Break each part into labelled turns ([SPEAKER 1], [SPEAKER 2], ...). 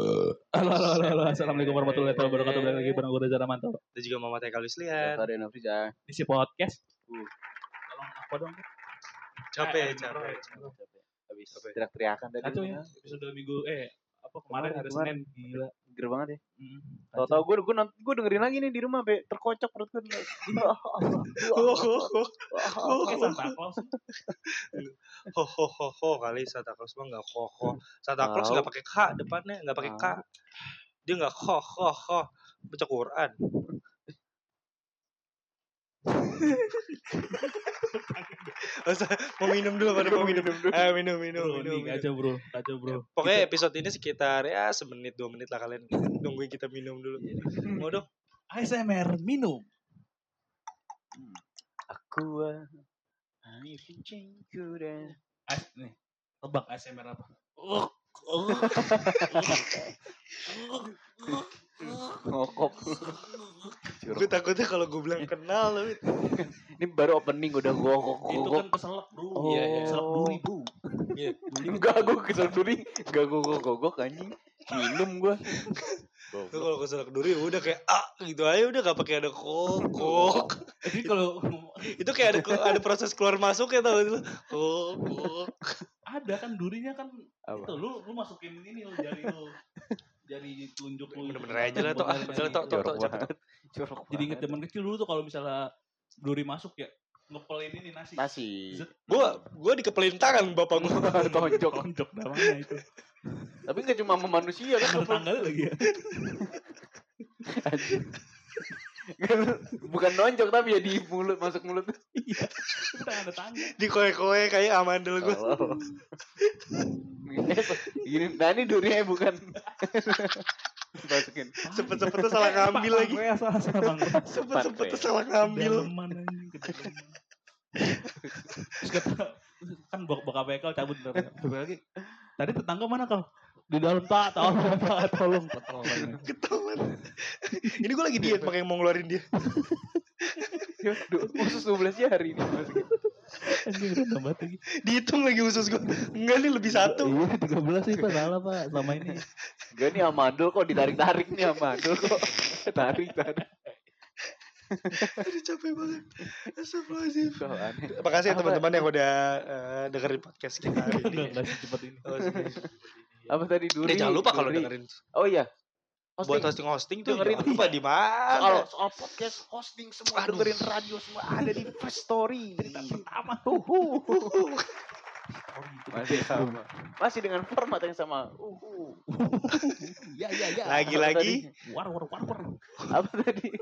[SPEAKER 1] Halo, halo, halo, halo. Assalamualaikum warahmatullahi wabarakatuh. Balik lagi bareng gue Reza Ramanto.
[SPEAKER 2] Dan juga Mama Teh Kalis
[SPEAKER 3] Gak
[SPEAKER 2] lihat.
[SPEAKER 3] ada yang ya. Afriza.
[SPEAKER 1] Di si podcast.
[SPEAKER 3] Uh.
[SPEAKER 1] Tolong apa dong? Eh,
[SPEAKER 2] Capek, capek.
[SPEAKER 3] Habis
[SPEAKER 2] Apa ya?
[SPEAKER 3] teriak-teriakan tadi.
[SPEAKER 1] Kacau ya,
[SPEAKER 3] ya.
[SPEAKER 1] episode minggu, eh, apa kemarin
[SPEAKER 3] Kemarin,
[SPEAKER 1] hari
[SPEAKER 3] kemarin.
[SPEAKER 1] Senin. Gila.
[SPEAKER 3] Geger banget ya.
[SPEAKER 1] Mm,
[SPEAKER 3] Tahu-tahu gue gue nont- gue dengerin lagi nih di rumah sampai terkocok perut gue.
[SPEAKER 2] Ho ho ho
[SPEAKER 1] kacau. Kayak Santa Claus.
[SPEAKER 2] ho ho ho ho kali Santa Claus mah nggak ho ho. Santa Claus
[SPEAKER 3] Tahu.
[SPEAKER 2] nggak pakai k depannya, nggak pakai k.
[SPEAKER 3] Tahu.
[SPEAKER 2] Dia nggak ho ho ho baca Quran. Masa, mau minum dulu pada mau minum. Eh minum minum
[SPEAKER 1] Bro,
[SPEAKER 2] minum.
[SPEAKER 1] ini
[SPEAKER 2] minum.
[SPEAKER 1] kacau bro, kacau bro.
[SPEAKER 2] Pokoknya episode ini sekitar ya semenit dua menit lah kalian nungguin kita minum dulu. Mau dong?
[SPEAKER 1] ASMR minum.
[SPEAKER 3] Aku ah, I can change you dah.
[SPEAKER 1] As- nih, tebak ASMR apa?
[SPEAKER 3] Ngokop.
[SPEAKER 2] Gue takutnya kalau gue bilang kenal lu
[SPEAKER 3] Ini baru opening udah Oh, gua kok
[SPEAKER 1] Itu kan keselak bro.
[SPEAKER 3] Oh.
[SPEAKER 2] Iya, iya.
[SPEAKER 1] Keselak dulu ribu.
[SPEAKER 3] Enggak gue kesel turi, enggak gue gogok anjing. Minum gue.
[SPEAKER 2] Gue kalau kesel ke duri udah kayak ah gitu aja udah gak pakai ada kok kok.
[SPEAKER 1] Jadi kalau
[SPEAKER 2] Itu kayak ada ada proses keluar masuk ya tau itu. Kok kok.
[SPEAKER 1] ada kan durinya kan
[SPEAKER 3] Apa?
[SPEAKER 1] itu lu lu masukin ini lu jari lu jari tunjuk lu
[SPEAKER 2] Bener-bener aja lah, Tok. Ah,
[SPEAKER 1] Bener-bener
[SPEAKER 2] udah lah, Tok, Tok,
[SPEAKER 3] Jorok
[SPEAKER 2] Tok, cakep.
[SPEAKER 3] banget. Jorok
[SPEAKER 1] jadi inget
[SPEAKER 3] banget.
[SPEAKER 1] zaman kecil dulu tuh kalau misalnya duri masuk ya ngepelin ini nasi
[SPEAKER 3] Nasi.
[SPEAKER 1] Zet.
[SPEAKER 2] Gue gue dikepelin tangan bapak gue.
[SPEAKER 3] Tonjok.
[SPEAKER 1] konjok namanya itu
[SPEAKER 3] Tapi enggak cuma sama manusia kan.
[SPEAKER 1] ada tanggalnya lagi ya
[SPEAKER 3] Anjing. Bukan nonjok tapi ya di mulut masuk mulut.
[SPEAKER 1] kita ada tanggal
[SPEAKER 2] Di koe-koe kayak amandel gue.
[SPEAKER 3] Oh. Gini, nah ini duriannya bukan. Masukin.
[SPEAKER 2] Sempet-sempetnya salah ngambil lagi.
[SPEAKER 1] ya salah salah ngambil
[SPEAKER 2] Sempet-sempetnya salah ngambil.
[SPEAKER 1] mana ini terus kata kan bak bakal bekel cabut ntar Eh, Coba lagi tadi tetangga mana kau di dalam tak tolong tak tolong tolong
[SPEAKER 2] Ketahuan. Ini gue lagi diet makanya mau ngeluarin dia.
[SPEAKER 3] Ya, du- Khusus 12 hari ini. masukin.
[SPEAKER 1] anjing udah banget lagi
[SPEAKER 2] Dihitung lagi usus gue. Enggak nih lebih satu.
[SPEAKER 1] Iya, 13 sih Pak, salah Pak selama ini.
[SPEAKER 3] Gak nih amandel kok ditarik-tarik nih amandel kok. Tarik, tarik.
[SPEAKER 2] Aduh capek banget. Astagfirullahaladzim.
[SPEAKER 3] Kok aneh.
[SPEAKER 2] Makasih ya
[SPEAKER 3] Apa?
[SPEAKER 2] teman-teman yang udah eh, dengerin podcast kita hari ini.
[SPEAKER 1] Enggak secepat ini.
[SPEAKER 2] Oh, serius.
[SPEAKER 3] Apa tadi duri?
[SPEAKER 2] Eh, jangan lupa kalau
[SPEAKER 3] Duri.
[SPEAKER 2] dengerin
[SPEAKER 3] Oh iya.
[SPEAKER 2] buat hosting
[SPEAKER 3] Hosting.
[SPEAKER 2] hosting tuh
[SPEAKER 3] Dengerin.
[SPEAKER 2] dengerin lupa di
[SPEAKER 3] Kalau
[SPEAKER 2] mana.
[SPEAKER 3] soal podcast hosting semua
[SPEAKER 2] Aduh.
[SPEAKER 3] dengerin radio semua ada di First Story.
[SPEAKER 1] pertama.
[SPEAKER 3] Uhuh.
[SPEAKER 1] Uhuh.
[SPEAKER 3] Masih sama. Masih dengan format yang sama. Uhuh.
[SPEAKER 1] Ya ya ya.
[SPEAKER 2] Lagi-lagi
[SPEAKER 1] War war war war.
[SPEAKER 3] Apa tadi?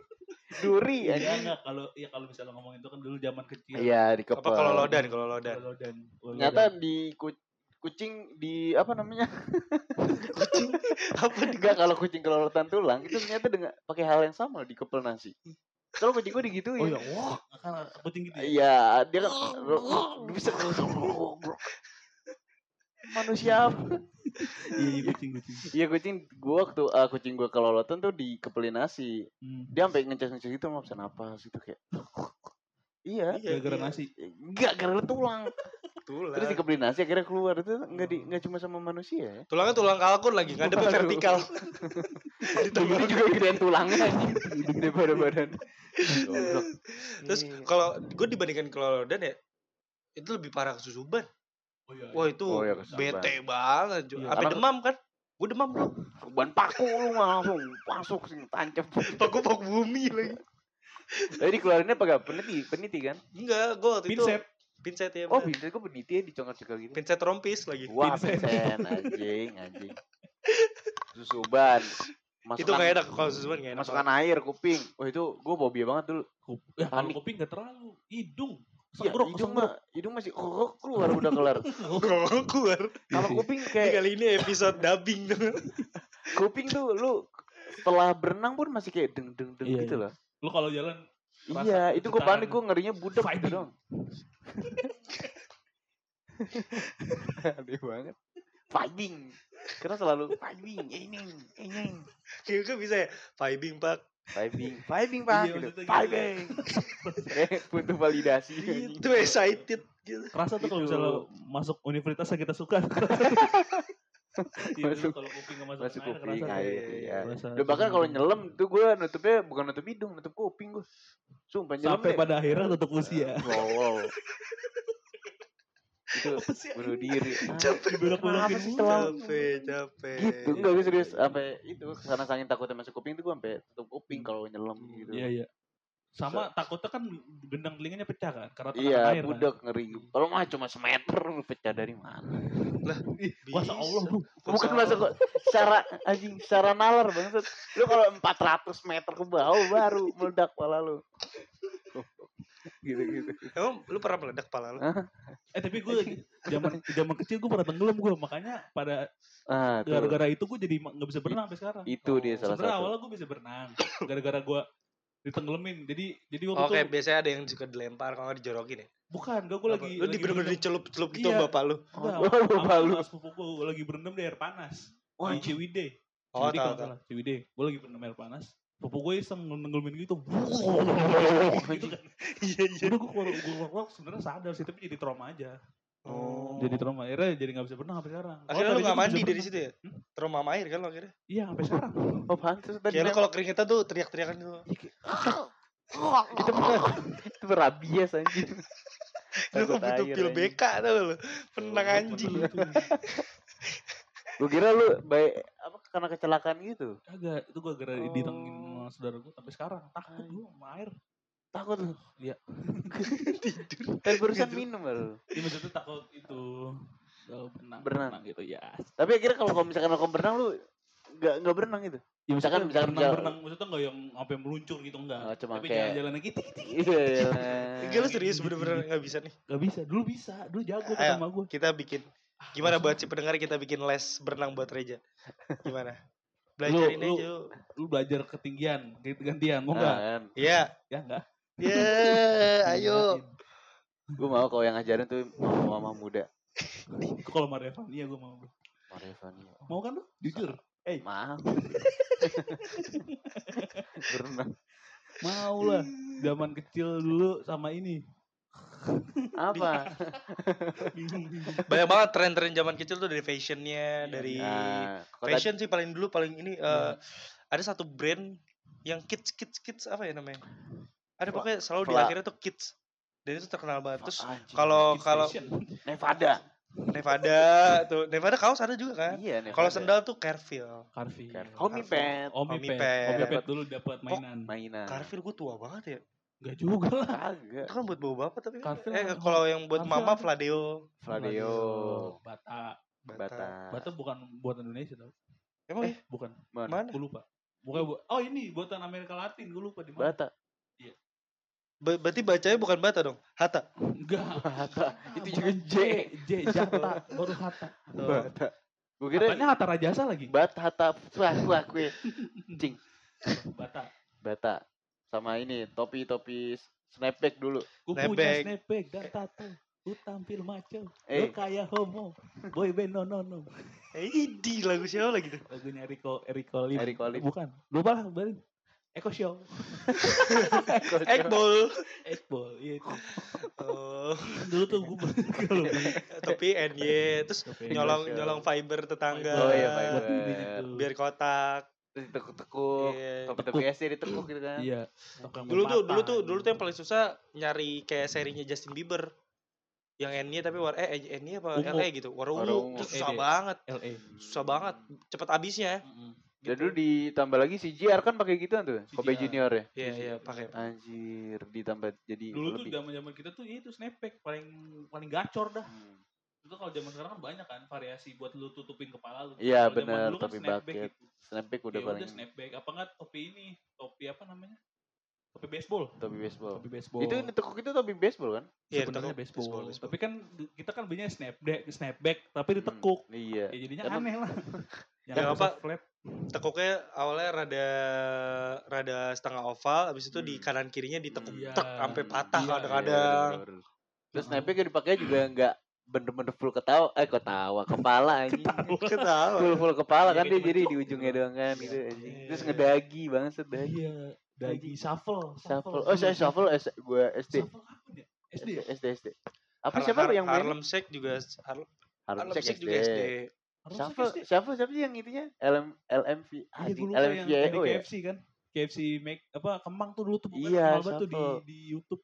[SPEAKER 3] Duri
[SPEAKER 1] Iya
[SPEAKER 3] anjing.
[SPEAKER 1] enggak kalau ya kalau misalnya ngomongin itu kan dulu zaman kecil.
[SPEAKER 3] Iya, di kepel.
[SPEAKER 2] apa kalau lodan kalau lodan.
[SPEAKER 1] Kalau dan
[SPEAKER 3] Ternyata di ku- kucing di apa namanya?
[SPEAKER 2] Kucing apa di
[SPEAKER 3] Enggak kalau kucing kelolotan tulang itu ternyata dengan pakai hal yang sama di kepel nasi. Kalau kucing gue digituin.
[SPEAKER 1] Oh ya, wah, kan penting gitu. ya.
[SPEAKER 3] Iya, dia kan bisa manusia apa?
[SPEAKER 1] Iya, iya, kucing kucing.
[SPEAKER 3] Iya kucing gua waktu eh, kucing gua kelolotan tuh di kepelin nasi.
[SPEAKER 1] Hmm.
[SPEAKER 3] Dia sampai ngeces-ngeces gitu sama bisa napas gitu kayak. Iya,
[SPEAKER 2] Iya,
[SPEAKER 1] Gara-gara
[SPEAKER 2] iya.
[SPEAKER 1] nasi.
[SPEAKER 3] enggak gara tulang.
[SPEAKER 2] Tulang.
[SPEAKER 3] Terus dikepelin nasi akhirnya keluar itu enggak di enggak cuma sama manusia ya.
[SPEAKER 2] Tulangnya tulang kalkun lagi nggak ada
[SPEAKER 3] Waduh.
[SPEAKER 2] vertikal. Ditambah.
[SPEAKER 3] Ini juga gedean tulangnya anjing. Gede pada badan. Goblok.
[SPEAKER 2] Terus
[SPEAKER 1] Iya.
[SPEAKER 2] kalau gue dibandingkan kalau lodan ya itu lebih parah kesusuban.
[SPEAKER 1] Oh iya.
[SPEAKER 2] Wah itu
[SPEAKER 3] Oh, iya, kesusuban.
[SPEAKER 2] bete banget. Jo.
[SPEAKER 1] Iya.
[SPEAKER 2] Sampai
[SPEAKER 3] Karena-
[SPEAKER 2] demam kan? Gue demam bro.
[SPEAKER 3] Ban paku lu mah langsung masuk sing tancap.
[SPEAKER 2] Paku paku bumi lagi.
[SPEAKER 3] Jadi keluarinnya pakai peniti, peniti kan?
[SPEAKER 2] Enggak, gue waktu itu
[SPEAKER 1] Pinset.
[SPEAKER 2] pinset ya.
[SPEAKER 3] Oh,
[SPEAKER 2] bener.
[SPEAKER 3] pinset gue peniti ya dicongkel-congkel gitu.
[SPEAKER 2] Pinset rompis lagi.
[SPEAKER 3] Wah,
[SPEAKER 1] Pinset.
[SPEAKER 3] pinset anjing, anjing. Susuban. Masukkan,
[SPEAKER 2] Itu nggak enak kalau susuban nggak enak.
[SPEAKER 3] Masukkan air kuping. Wah, itu gue fobia banget dulu.
[SPEAKER 1] Kup- Ya, kalau
[SPEAKER 3] Panik.
[SPEAKER 1] kuping enggak terlalu. Hidung.
[SPEAKER 3] Iya,
[SPEAKER 1] Senggrok,
[SPEAKER 3] hidung
[SPEAKER 1] senggrok.
[SPEAKER 3] mah, hidung masih oh, keluar udah kelar.
[SPEAKER 2] Nggak keluar.
[SPEAKER 3] Kalau kuping
[SPEAKER 2] Ini
[SPEAKER 3] kayak
[SPEAKER 2] kali ini episode dubbing tuh.
[SPEAKER 3] kuping tuh lu setelah berenang pun masih kayak deng deng deng
[SPEAKER 1] Iya,
[SPEAKER 3] gitu loh.
[SPEAKER 1] Lu kalau jalan Rasa
[SPEAKER 3] Iya, itu gue
[SPEAKER 1] getaran.
[SPEAKER 3] panik gue ngerinya budak gitu
[SPEAKER 1] Fighting.
[SPEAKER 3] dong. Aneh banget. Fighting. Karena selalu eh, fighting, ini, ini.
[SPEAKER 2] Kayaknya bisa ya. Vibing pak.
[SPEAKER 3] Fighting, fighting pak.
[SPEAKER 1] Iya,
[SPEAKER 3] gitu.
[SPEAKER 1] maksudnya gitu.
[SPEAKER 3] Fighting. Kayak butuh validasi.
[SPEAKER 1] Iya.
[SPEAKER 2] Itu excited gitu.
[SPEAKER 1] kerasa tuh kalau
[SPEAKER 3] Gitu.
[SPEAKER 1] misalnya masuk universitas yang kita suka. Tidur
[SPEAKER 3] Masuk-
[SPEAKER 1] Iya, kalau kuping nggak masuk
[SPEAKER 3] masuk
[SPEAKER 1] air,
[SPEAKER 3] kuping
[SPEAKER 1] kerasa.
[SPEAKER 3] air
[SPEAKER 2] Iya,
[SPEAKER 3] ya.
[SPEAKER 1] Kerasa.
[SPEAKER 3] Udah bahkan kalau nyelam tuh gue nutupnya bukan nutup hidung, nutup kuping gue. Sumpah nyelam
[SPEAKER 1] sampai
[SPEAKER 3] deh.
[SPEAKER 1] pada akhirnya tutup usia.
[SPEAKER 3] Wow, wow. Itu
[SPEAKER 1] Apa sih?
[SPEAKER 3] bunuh diri.
[SPEAKER 2] Capek
[SPEAKER 1] Dibelok-belokin
[SPEAKER 3] Kenapa
[SPEAKER 1] mulu.
[SPEAKER 3] sih
[SPEAKER 2] gitu.
[SPEAKER 3] selam?
[SPEAKER 2] Capek, capek.
[SPEAKER 3] gitu enggak gue serius sampai itu karena saking takutnya masuk kuping tuh gue sampai tutup kuping kalau nyelam gitu
[SPEAKER 1] Iya, iya. Sama takutnya kan gendang telinganya pecah kan karena tekanan
[SPEAKER 3] iya
[SPEAKER 1] air. kan.
[SPEAKER 3] budak ngeri kalau mah cuma semeter lu pecah dari mana
[SPEAKER 1] Ih, Kuasa Allah, Bro.
[SPEAKER 3] bukan masuk kok secara anjing secara nalar banget lu kalau 400 meter ke bawah baru meledak pala lu gitu gitu
[SPEAKER 2] Emang lu pernah meledak pala lu?
[SPEAKER 1] Eh tapi gue zaman zaman kecil gue pernah tenggelam gue makanya pada
[SPEAKER 3] ah tuh.
[SPEAKER 1] gara-gara itu gue jadi ma- nggak bisa berenang sampai
[SPEAKER 2] Iya,
[SPEAKER 1] sekarang.
[SPEAKER 3] itu
[SPEAKER 2] Oh,
[SPEAKER 3] dia salah
[SPEAKER 1] Sebenarnya
[SPEAKER 3] satu
[SPEAKER 1] awalnya gue bisa berenang gara-gara gue ditenggelamin. Jadi jadi waktu
[SPEAKER 2] Oke,
[SPEAKER 1] itu
[SPEAKER 2] biasanya ada yang suka dilempar kalau nggak dijorokin ya.
[SPEAKER 1] bukan gak gue lagi
[SPEAKER 2] Apa? lu
[SPEAKER 1] lagi
[SPEAKER 2] di bener-bener
[SPEAKER 1] berendam.
[SPEAKER 2] dicelup-celup gitu
[SPEAKER 1] Iya.
[SPEAKER 2] sama bapak lu.
[SPEAKER 1] Enggak,
[SPEAKER 3] Oh,
[SPEAKER 1] sama-
[SPEAKER 3] bapak lu.
[SPEAKER 1] sama sepupu gue, gue lagi berendam di air panas.
[SPEAKER 3] Wah,
[SPEAKER 1] di Ciwide.
[SPEAKER 2] iya. Oh,
[SPEAKER 1] Ciwide kalau
[SPEAKER 2] tahu,
[SPEAKER 1] nggak
[SPEAKER 2] tahu.
[SPEAKER 1] salah. Ciwide. Gue lagi berendam air panas. Sepupu gue iseng nenggelamin gitu. gitu kan.
[SPEAKER 2] Iya, iya.
[SPEAKER 1] Udah gue keluar gue keluar, keluar sebenarnya sadar sih tapi jadi trauma aja.
[SPEAKER 2] Oh.
[SPEAKER 1] Jadi trauma akhirnya jadi nggak bisa berenang sampai sekarang. Kalau
[SPEAKER 2] Akhirnya lu
[SPEAKER 1] tadinya bisa
[SPEAKER 2] gak
[SPEAKER 1] Hmm?
[SPEAKER 2] mandi dari
[SPEAKER 1] berenang.
[SPEAKER 2] situ ya? Trauma sama air kan lo akhirnya?
[SPEAKER 1] Iya sampai sekarang.
[SPEAKER 3] oh pantas tadi
[SPEAKER 2] Kayak lu
[SPEAKER 3] bilang-
[SPEAKER 2] kalau keringetan tuh teriak-teriakan gitu.
[SPEAKER 3] itu ber- itu berabias anjing
[SPEAKER 2] Lu
[SPEAKER 3] Takut
[SPEAKER 2] kok butuh
[SPEAKER 3] air,
[SPEAKER 2] pil
[SPEAKER 3] anjing.
[SPEAKER 2] BK tau lu. Penang anjing.
[SPEAKER 1] gitu,
[SPEAKER 3] Gue kira lu baik apa karena kecelakaan gitu.
[SPEAKER 1] Kagak, itu gue gara
[SPEAKER 3] Oh.
[SPEAKER 1] ditangin sama saudara gue sampai sekarang. Takut gue sama air.
[SPEAKER 3] Takut lu.
[SPEAKER 1] Iya.
[SPEAKER 3] Tidur. Kan barusan minum lu.
[SPEAKER 1] Iya maksudnya takut itu. Kalau berenang,
[SPEAKER 3] Berenang.
[SPEAKER 1] gitu ya.
[SPEAKER 3] Tapi akhirnya kalau kalau misalkan aku berenang lu enggak enggak berenang gitu.
[SPEAKER 1] Ya
[SPEAKER 3] Misalkan-
[SPEAKER 1] maksudnya
[SPEAKER 3] misalkan
[SPEAKER 1] berenang,
[SPEAKER 3] jalan-
[SPEAKER 1] berenang maksudnya enggak yang sampai meluncur gitu enggak.
[SPEAKER 3] Oh, cuma
[SPEAKER 1] Tapi
[SPEAKER 3] kayak-
[SPEAKER 1] jalan-jalan gitu.
[SPEAKER 3] Iya iya.
[SPEAKER 2] Gila lu serius bener-bener gak bisa nih.
[SPEAKER 1] Gak bisa, dulu bisa. Dulu jago
[SPEAKER 2] Ayo.
[SPEAKER 1] kata sama gue.
[SPEAKER 2] Kita bikin. Gimana buat si pendengar kita bikin les berenang buat Reja? Gimana?
[SPEAKER 1] Lu-
[SPEAKER 2] Belajarin
[SPEAKER 1] lu-
[SPEAKER 2] aja. lu.
[SPEAKER 1] Lu belajar ketinggian, gitu gantian, mau enggak?
[SPEAKER 3] Nah,
[SPEAKER 2] Iya.
[SPEAKER 1] Ya enggak.
[SPEAKER 2] Ya, ayo.
[SPEAKER 3] gue mau kalau yang ngajarin tuh mama, mama muda.
[SPEAKER 1] Itu kalau sama Revan, iya gue mau.
[SPEAKER 3] Marifani.
[SPEAKER 1] Mau kan lu? Jujur. Eh,
[SPEAKER 3] Maaf. berenang.
[SPEAKER 1] mau lah. Zaman kecil dulu sama ini.
[SPEAKER 3] Apa?
[SPEAKER 1] Bingung-bingung.
[SPEAKER 2] Banyak banget tren-tren zaman kecil tuh dari fashionnya,
[SPEAKER 1] Iya.
[SPEAKER 2] dari
[SPEAKER 3] Nah, kalau tadi-
[SPEAKER 2] fashion sih paling dulu paling ini eh, ada satu brand yang kids kids kids apa ya namanya? Ada
[SPEAKER 3] Fla-
[SPEAKER 2] pokoknya selalu di
[SPEAKER 3] Fla-
[SPEAKER 2] akhirnya tuh kids. Dan itu terkenal banget. Terus
[SPEAKER 3] Ah, Anjing,
[SPEAKER 2] kalau
[SPEAKER 1] Kids
[SPEAKER 2] kalau
[SPEAKER 1] fashion.
[SPEAKER 3] Nevada.
[SPEAKER 2] Nevada tuh Nevada kaos ada juga kan?
[SPEAKER 3] Iya, Nevada.
[SPEAKER 2] Kalau sendal tuh Carville.
[SPEAKER 1] Carvey.
[SPEAKER 3] Homie pet.
[SPEAKER 1] Omi
[SPEAKER 2] Omi
[SPEAKER 1] Pet.
[SPEAKER 2] Pet.
[SPEAKER 1] Omi Pet dulu dapat mainan.
[SPEAKER 3] Mainan.
[SPEAKER 2] Carville gue tua banget ya.
[SPEAKER 1] Enggak juga lah.
[SPEAKER 3] Kagak.
[SPEAKER 2] Itu kan buat bawa bapak tapi kan.
[SPEAKER 1] Carville
[SPEAKER 2] Eh
[SPEAKER 1] apa?
[SPEAKER 2] kalau yang buat
[SPEAKER 1] Carville
[SPEAKER 2] mama
[SPEAKER 1] apa?
[SPEAKER 2] Fladeo.
[SPEAKER 3] Flavio.
[SPEAKER 1] Bata.
[SPEAKER 2] Bata.
[SPEAKER 3] Bata.
[SPEAKER 1] Bata Eh, bukan buatan Indonesia tau.
[SPEAKER 2] Emang ya?
[SPEAKER 1] Bukan.
[SPEAKER 3] Mana?
[SPEAKER 2] Mana?
[SPEAKER 1] Gue lupa. Bukan bu- Oh ini buatan Amerika Latin. Gue lupa di mana.
[SPEAKER 3] Bata.
[SPEAKER 2] Ba- berarti bacanya bukan bata dong. Hata.
[SPEAKER 1] Enggak.
[SPEAKER 3] Bata. Itu
[SPEAKER 1] Bukan
[SPEAKER 3] juga J.
[SPEAKER 1] J. Jata. Baru Hatta.
[SPEAKER 2] Tuh.
[SPEAKER 3] Bata. Gue kira
[SPEAKER 1] Katanya Hatta Rajasa lagi.
[SPEAKER 3] Bata hata suah suah kue. Cing.
[SPEAKER 1] Bata.
[SPEAKER 3] Bata. Sama ini topi-topi snapback dulu.
[SPEAKER 1] Gue punya
[SPEAKER 2] Snapback.
[SPEAKER 1] snapback dan tato. Lu tampil maco. Lu
[SPEAKER 3] Eh,
[SPEAKER 1] kayak homo. Boy band no no no.
[SPEAKER 2] Eh, Idi lagu siapa lagi tuh?
[SPEAKER 1] Lagunya Eriko Eriko Lim.
[SPEAKER 3] Eric Olim.
[SPEAKER 1] Bukan. Lupa lah. balik. Eko Show.
[SPEAKER 2] Eggball.
[SPEAKER 1] Ekbol. Iya itu.
[SPEAKER 2] Oh, Eh,
[SPEAKER 1] Dulu tuh gue kalau
[SPEAKER 2] tapi NY terus
[SPEAKER 1] Tapi-
[SPEAKER 2] nyolong
[SPEAKER 3] Eggball.
[SPEAKER 2] nyolong fiber tetangga.
[SPEAKER 3] Oh iya,
[SPEAKER 1] Buat
[SPEAKER 3] fiber. Oh,
[SPEAKER 1] ini gitu.
[SPEAKER 2] Biar kotak.
[SPEAKER 3] Terus ditekuk-tekuk.
[SPEAKER 2] Iya.
[SPEAKER 3] Topi-topi SD ditekuk gitu kan.
[SPEAKER 1] Iya. Tukang
[SPEAKER 2] Dulu tuh, dulu
[SPEAKER 1] pepatah.
[SPEAKER 2] tuh, dulu tuh yang paling susah nyari kayak serinya Justin Bieber. Yang NY tapi war eh NY apa
[SPEAKER 1] Ungu.
[SPEAKER 2] LA gitu. Warna
[SPEAKER 3] Warna
[SPEAKER 2] ungu.
[SPEAKER 3] ungu.
[SPEAKER 2] Itu
[SPEAKER 1] Eh,
[SPEAKER 2] susah
[SPEAKER 1] deh.
[SPEAKER 2] banget.
[SPEAKER 1] LA.
[SPEAKER 2] Susah banget. Cepet habisnya.
[SPEAKER 3] Dan dulu ditambah lagi si JR kan pakai gituan tuh. Kobe
[SPEAKER 1] CJR.
[SPEAKER 3] Junior
[SPEAKER 2] Iya,
[SPEAKER 3] ya.
[SPEAKER 1] Iya,
[SPEAKER 2] iya,
[SPEAKER 1] iya.
[SPEAKER 2] pakai.
[SPEAKER 3] Anjir, ditambah jadi
[SPEAKER 1] Dulu tuh
[SPEAKER 3] lebih.
[SPEAKER 1] zaman-zaman kita tuh ya itu snapback paling paling gacor dah.
[SPEAKER 3] Hmm.
[SPEAKER 1] Itu kalau zaman sekarang kan banyak kan variasi buat lu tutupin kepala lu. Kalau
[SPEAKER 3] Iya,
[SPEAKER 1] zaman
[SPEAKER 3] bener,
[SPEAKER 1] dulu kan
[SPEAKER 3] topi
[SPEAKER 1] snapback
[SPEAKER 3] bucket.
[SPEAKER 1] gitu.
[SPEAKER 3] Snapback
[SPEAKER 1] Ya Udah
[SPEAKER 3] udah paling
[SPEAKER 1] snapback apa enggak topi ini? Topi apa namanya? Topi baseball.
[SPEAKER 3] topi baseball.
[SPEAKER 1] Topi baseball.
[SPEAKER 3] Oh. Itu yang ditekuk itu topi baseball kan?
[SPEAKER 2] Iya,
[SPEAKER 1] sebenarnya
[SPEAKER 2] ditekuk.
[SPEAKER 1] baseball.
[SPEAKER 2] Baseball, baseball.
[SPEAKER 1] Tapi kan di- kita kan belinya snapback, snapback tapi ditekuk.
[SPEAKER 3] Hmm, Iya.
[SPEAKER 1] Ya jadinya
[SPEAKER 3] Karena-
[SPEAKER 1] aneh lah.
[SPEAKER 2] Yang apa?
[SPEAKER 1] susah flap.
[SPEAKER 2] Tekuknya awalnya rada rada setengah oval, habis itu di
[SPEAKER 3] Hmm.
[SPEAKER 2] kanan kirinya ditekuk
[SPEAKER 1] Iya.
[SPEAKER 2] tek sampai patah
[SPEAKER 1] Iya,
[SPEAKER 2] kadang-kadang.
[SPEAKER 3] Iya, bener-bener. Terus
[SPEAKER 1] Heeh.
[SPEAKER 3] snapback yang dipakai juga nggak bener-bener full ketawa, eh ketawa kepala anjing.
[SPEAKER 2] Ketawa.
[SPEAKER 3] Full full kepala
[SPEAKER 1] Iya,
[SPEAKER 3] kan dia
[SPEAKER 1] kayak
[SPEAKER 3] jadi di
[SPEAKER 1] dibentuk.
[SPEAKER 3] ujungnya doang kan gitu
[SPEAKER 1] Iya.
[SPEAKER 3] anjing.
[SPEAKER 2] Iya.
[SPEAKER 3] Terus ngedagi banget sedagi.
[SPEAKER 1] Iya, daging shuffle,
[SPEAKER 3] Shuffle. Oh, saya shuffle Eh, S gua SD.
[SPEAKER 1] Shuffle kapan ya? SD
[SPEAKER 3] SD
[SPEAKER 1] ya?
[SPEAKER 3] SD. Apa
[SPEAKER 2] Har-
[SPEAKER 3] siapa
[SPEAKER 2] Har-
[SPEAKER 3] yang main?
[SPEAKER 2] Harlem Shake juga Har-
[SPEAKER 3] Harlem
[SPEAKER 2] Harlem
[SPEAKER 3] Shake
[SPEAKER 2] Shake juga SD.
[SPEAKER 1] Harus
[SPEAKER 3] Siapa,
[SPEAKER 1] sih, Kiss,
[SPEAKER 3] siapa, siapa sih yang itunya? LM, LMV,
[SPEAKER 1] Iya, gue
[SPEAKER 3] anjing,
[SPEAKER 1] lupa yang dari
[SPEAKER 3] LMVO ya?
[SPEAKER 1] KFC kan. KFC make apa Kemang tuh dulu tuh pokoknya
[SPEAKER 3] Iya,
[SPEAKER 1] terkenal banget tuh di
[SPEAKER 3] shuffle.
[SPEAKER 1] di YouTube.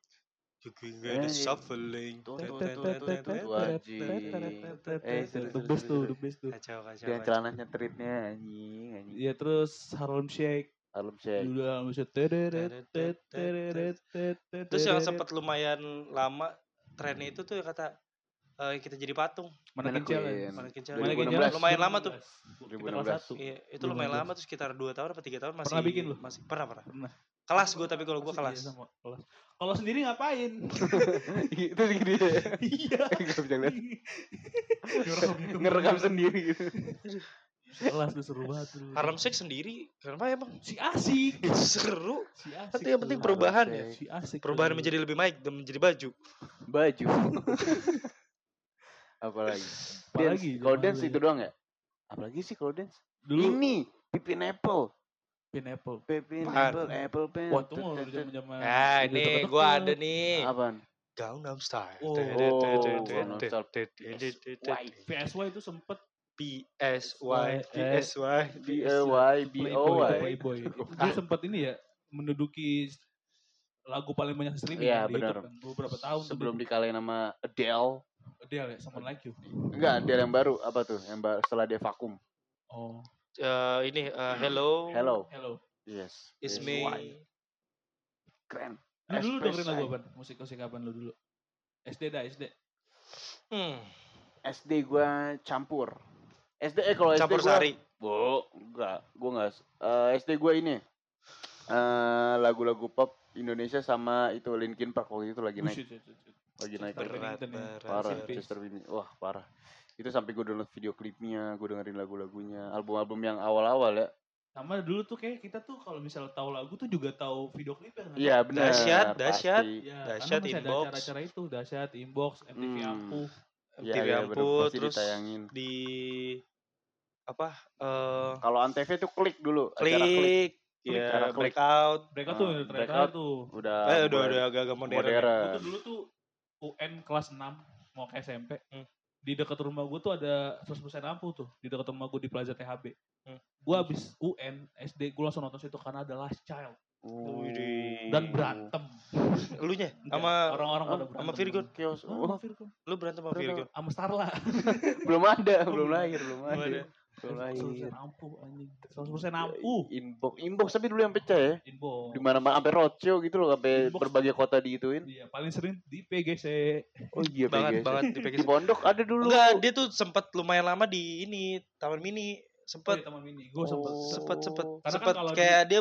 [SPEAKER 2] Looking at the
[SPEAKER 3] Eh.
[SPEAKER 2] shuffling.
[SPEAKER 3] Tuh, tuh, tuh, tuh, tuh, tuh, tuh,
[SPEAKER 2] Anjing.
[SPEAKER 3] Eh, seru,
[SPEAKER 1] The
[SPEAKER 3] seru,
[SPEAKER 1] best
[SPEAKER 3] seru,
[SPEAKER 1] tuh,
[SPEAKER 3] seru.
[SPEAKER 1] the best tuh.
[SPEAKER 2] Kacau, kacau,
[SPEAKER 3] Dengan
[SPEAKER 2] kacau.
[SPEAKER 3] celananya treatnya anjing, anjing.
[SPEAKER 1] Iya terus Harlem Shake.
[SPEAKER 3] Alum Shake.
[SPEAKER 1] Dulu Harlem Shake. Teret, teret, teret, teret, teret,
[SPEAKER 2] Terus yang
[SPEAKER 1] teret.
[SPEAKER 2] sempat lumayan lama trennya itu tuh yang kata eh, kita jadi patung.
[SPEAKER 1] Manekin
[SPEAKER 3] Iya. ya?
[SPEAKER 1] Challenge.
[SPEAKER 2] Manekin
[SPEAKER 3] Dari
[SPEAKER 2] Challenge.
[SPEAKER 1] Manekin
[SPEAKER 3] 2016.
[SPEAKER 1] Challenge
[SPEAKER 2] Lumayan lama tuh.
[SPEAKER 1] 2016. Kita kelas
[SPEAKER 3] 2016.
[SPEAKER 1] satu.
[SPEAKER 2] Iya, itu lumayan lama tuh sekitar 2 tahun apa 3 tahun masih
[SPEAKER 1] Pernah bikin lu?
[SPEAKER 2] Masih pernah, pernah.
[SPEAKER 1] Pernah.
[SPEAKER 2] Kelas gue tapi kalau gue
[SPEAKER 1] Masih
[SPEAKER 2] kelas.
[SPEAKER 1] dia sama kelas. Kalau sendiri ngapain?
[SPEAKER 3] Itu gini ya.
[SPEAKER 1] Iya.
[SPEAKER 3] Gak bisa ngeliat.
[SPEAKER 1] Ngerekam gitu.
[SPEAKER 3] Ngerekam sendiri gitu.
[SPEAKER 1] Kelas tuh seru banget dulu.
[SPEAKER 2] Harlem Shake sendiri. Kenapa emang?
[SPEAKER 1] si asik.
[SPEAKER 2] Seru.
[SPEAKER 1] Si asik.
[SPEAKER 2] Tapi Kan yang penting
[SPEAKER 1] tuh. Iya,
[SPEAKER 2] perubahan
[SPEAKER 3] Shake.
[SPEAKER 2] ya.
[SPEAKER 1] Si asik. tuh.
[SPEAKER 2] Perubahan menjadi lebih baik dan menjadi baju.
[SPEAKER 3] Baju. Apalagi. Dance.
[SPEAKER 1] Apalagi
[SPEAKER 3] Kalau
[SPEAKER 1] zaman
[SPEAKER 3] dance
[SPEAKER 1] dulu
[SPEAKER 3] itu
[SPEAKER 1] ya.
[SPEAKER 3] doang ya? Apalagi sih kalau dance?
[SPEAKER 1] dulu
[SPEAKER 3] Ini. Pipin Apple.
[SPEAKER 1] pineapple.
[SPEAKER 3] Pipin
[SPEAKER 2] Apaan?
[SPEAKER 3] Apple. Apple Pen.
[SPEAKER 1] Wah, itu mah udah zaman-zaman.
[SPEAKER 3] Ah,
[SPEAKER 2] Nah,
[SPEAKER 1] udah
[SPEAKER 2] ini
[SPEAKER 1] teka-teki.
[SPEAKER 2] gue ada nih.
[SPEAKER 3] Apaan?
[SPEAKER 2] Gangnam Style.
[SPEAKER 1] Oh.
[SPEAKER 3] Oh, Gangnam Style.
[SPEAKER 1] PSY itu sempet
[SPEAKER 2] PSY, PSY,
[SPEAKER 3] B L Y B O
[SPEAKER 1] Playboy,
[SPEAKER 3] Y.
[SPEAKER 1] Playboy.
[SPEAKER 2] Ah.
[SPEAKER 1] Dia sempet ini ya menduduki lagu paling banyak streaming
[SPEAKER 3] Iya,
[SPEAKER 1] di YouTube
[SPEAKER 3] benar.
[SPEAKER 1] kan. beberapa tahun tuh
[SPEAKER 3] sebelum
[SPEAKER 1] dia-
[SPEAKER 3] dikalahin sama Adele
[SPEAKER 1] Adele ya, Someone Like You.
[SPEAKER 3] enggak Adele yang baru apa tuh yang ba- setelah dia vakum
[SPEAKER 1] Oh,
[SPEAKER 2] Eh, ini eh, hello,
[SPEAKER 3] Hello
[SPEAKER 1] hello.
[SPEAKER 3] yes
[SPEAKER 2] it's
[SPEAKER 3] Yes.
[SPEAKER 2] me.
[SPEAKER 3] Why? keren
[SPEAKER 1] Lu dulu
[SPEAKER 3] Express
[SPEAKER 1] dengerin lagu
[SPEAKER 3] Eye.
[SPEAKER 1] apa? Musik-musik kapan lu dulu? SD dah, SD.
[SPEAKER 2] Hmm,
[SPEAKER 3] SD gua campur SD eh kalau SD
[SPEAKER 2] campur
[SPEAKER 3] gua
[SPEAKER 2] sari.
[SPEAKER 3] Bo, enggak gua enggak s- eh, SD gua ini eh lagu-lagu pop Indonesia sama itu Linkin Park waktu itu lagi naik
[SPEAKER 1] Buset, buset, buset.
[SPEAKER 3] lagi naik
[SPEAKER 1] Chester
[SPEAKER 3] lagi
[SPEAKER 2] Berat,
[SPEAKER 3] naik.
[SPEAKER 1] Bennington ini.
[SPEAKER 2] berat.
[SPEAKER 3] parah
[SPEAKER 1] Chester
[SPEAKER 3] Chester Bennington. wah parah itu sampai gua download video klipnya gua dengerin lagu-lagunya album-album yang awal-awal ya
[SPEAKER 1] Sama dulu tuh kayak kita tuh kalau misal tahu lagu tuh juga tahu video klipnya kan?
[SPEAKER 3] iya benar
[SPEAKER 2] Dahsyat, dahsyat.
[SPEAKER 3] pasti.
[SPEAKER 1] Iya,
[SPEAKER 2] Dahsyat,
[SPEAKER 1] karena masih ada
[SPEAKER 2] Inbox.
[SPEAKER 1] acara-acara itu, dahsyat, inbox, MTV
[SPEAKER 3] Hmm.
[SPEAKER 1] aku.
[SPEAKER 3] Iya,
[SPEAKER 2] TV
[SPEAKER 3] iya, bener.
[SPEAKER 2] Ampuh,
[SPEAKER 3] Pasti
[SPEAKER 2] terus
[SPEAKER 3] ditayangin.
[SPEAKER 2] di apa? eh
[SPEAKER 3] Kalau Antv itu klik dulu, acara klik.
[SPEAKER 2] klik,
[SPEAKER 3] Klik,
[SPEAKER 2] ya,
[SPEAKER 3] acara klik.
[SPEAKER 2] breakout.
[SPEAKER 1] Mereka tuh
[SPEAKER 3] Ah,
[SPEAKER 1] yang
[SPEAKER 3] Breakout.
[SPEAKER 1] terakhir tuh.
[SPEAKER 3] Udah
[SPEAKER 2] Eh, udah
[SPEAKER 3] mulai
[SPEAKER 2] udah agak-agak modern. ya.
[SPEAKER 1] Gue tuh
[SPEAKER 3] modern.
[SPEAKER 1] dulu tuh UN kelas 6 mau ke SMP.
[SPEAKER 2] Hmm.
[SPEAKER 1] Di dekat rumah gue tuh ada 100% ampuh tuh. Di dekat rumah gue di Plaza THB.
[SPEAKER 2] Hmm.
[SPEAKER 1] Gue abis UN, SD gue langsung nonton situ karena ada Last Child.
[SPEAKER 3] Oh.
[SPEAKER 2] Widih.
[SPEAKER 1] Dan berantem.
[SPEAKER 2] Elunya sama
[SPEAKER 1] orang-orang
[SPEAKER 3] sama-
[SPEAKER 1] pada berantem.
[SPEAKER 2] sama Virgo.
[SPEAKER 3] Kios.
[SPEAKER 1] Hah, Sama
[SPEAKER 3] Oh,
[SPEAKER 1] Virgo.
[SPEAKER 2] lu berantem sama gitu?
[SPEAKER 3] Udah,
[SPEAKER 2] Virgo.
[SPEAKER 1] Sama Starla.
[SPEAKER 3] belum ada,
[SPEAKER 1] Oh,
[SPEAKER 3] belum
[SPEAKER 1] belum
[SPEAKER 3] lahir, belum
[SPEAKER 2] Belum
[SPEAKER 3] ada.
[SPEAKER 2] ada.
[SPEAKER 3] Belum
[SPEAKER 1] 100%
[SPEAKER 3] lahir.
[SPEAKER 1] ampuh anjing. 100% ampuh.
[SPEAKER 3] Inbox, inbox tapi dulu yang pecah ya.
[SPEAKER 1] Inbox.
[SPEAKER 3] Di mana mana sampai roadshow gitu loh, sampai
[SPEAKER 1] Inbox.
[SPEAKER 3] berbagai kota digituin.
[SPEAKER 1] Iya, paling sering di PGC.
[SPEAKER 3] Oh iya,
[SPEAKER 2] Banget
[SPEAKER 3] PGS.
[SPEAKER 2] banget
[SPEAKER 3] Di
[SPEAKER 2] dipegang.
[SPEAKER 3] pondok ada dulu.
[SPEAKER 2] Enggak, dia tuh sempat lumayan lama di ini Taman Mini. Sempat
[SPEAKER 1] Iya, Taman Mini. Gue sempet.
[SPEAKER 3] Oh.
[SPEAKER 2] sempat sempat
[SPEAKER 3] Karena
[SPEAKER 1] kan
[SPEAKER 2] sempat
[SPEAKER 1] kalau di-
[SPEAKER 2] kayak dia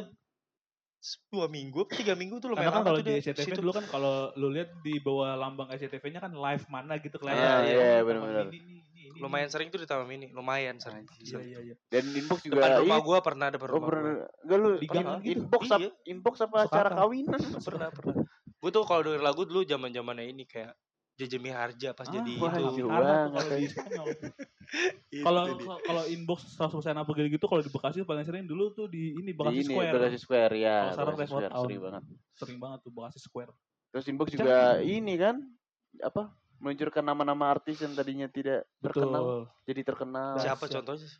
[SPEAKER 2] dua minggu tiga minggu tuh
[SPEAKER 1] Karena
[SPEAKER 2] lumayan
[SPEAKER 1] kan
[SPEAKER 2] lama
[SPEAKER 1] kalau
[SPEAKER 2] tuh
[SPEAKER 1] di
[SPEAKER 2] dia
[SPEAKER 1] SCTV
[SPEAKER 2] situ.
[SPEAKER 1] dulu kan kalau lu lihat di bawah lambang SCTV-nya kan live mana gitu kelihatan.
[SPEAKER 2] Iya,
[SPEAKER 1] Oh,
[SPEAKER 2] iya,
[SPEAKER 1] Taman
[SPEAKER 3] benar-benar.
[SPEAKER 1] Mini, ini, ini, ini,
[SPEAKER 2] lumayan
[SPEAKER 1] ini.
[SPEAKER 2] sering tuh di Taman Mini lumayan sering
[SPEAKER 1] Iya,
[SPEAKER 2] sering.
[SPEAKER 1] iya, iya.
[SPEAKER 3] Dan inbox juga.
[SPEAKER 2] depan rumah
[SPEAKER 3] ini.
[SPEAKER 2] gua pernah depan
[SPEAKER 3] Oh,
[SPEAKER 2] rumah
[SPEAKER 3] pernah.
[SPEAKER 2] gua
[SPEAKER 3] Enggak lu
[SPEAKER 1] Di
[SPEAKER 3] pernah.
[SPEAKER 1] gang gitu.
[SPEAKER 3] Inbox apa
[SPEAKER 2] Iya.
[SPEAKER 3] inbox apa
[SPEAKER 1] Masuk
[SPEAKER 3] acara
[SPEAKER 1] akal.
[SPEAKER 3] kawinan?
[SPEAKER 2] pernah pernah gua tuh kalau denger lagu dulu zaman zamannya ini kayak Jejemi Harja pas jadi
[SPEAKER 1] Ah,
[SPEAKER 3] wah,
[SPEAKER 2] itu
[SPEAKER 3] jauh
[SPEAKER 1] Karena tuh
[SPEAKER 3] banget,
[SPEAKER 1] kalau di
[SPEAKER 3] ya.
[SPEAKER 1] Spanyol.
[SPEAKER 2] Itu
[SPEAKER 1] Kalau
[SPEAKER 2] dia.
[SPEAKER 1] kalau inbox 100% apa gitu-gitu kalau di Bekasi paling sering dulu tuh di ini Bekasi
[SPEAKER 3] Di ini,
[SPEAKER 1] Square.
[SPEAKER 3] Bekasi Square ya.
[SPEAKER 1] Kalau sekarang
[SPEAKER 3] Bekasi
[SPEAKER 1] Red Hot
[SPEAKER 3] Square,
[SPEAKER 1] Town.
[SPEAKER 3] sering banget.
[SPEAKER 1] Sering banget tuh Bekasi Square.
[SPEAKER 3] Terus inbox
[SPEAKER 1] Cak.
[SPEAKER 3] juga ini kan apa meluncurkan nama-nama artis yang tadinya tidak terkenal
[SPEAKER 1] Betul.
[SPEAKER 3] jadi terkenal.
[SPEAKER 1] Siap.
[SPEAKER 2] siapa contohnya sih?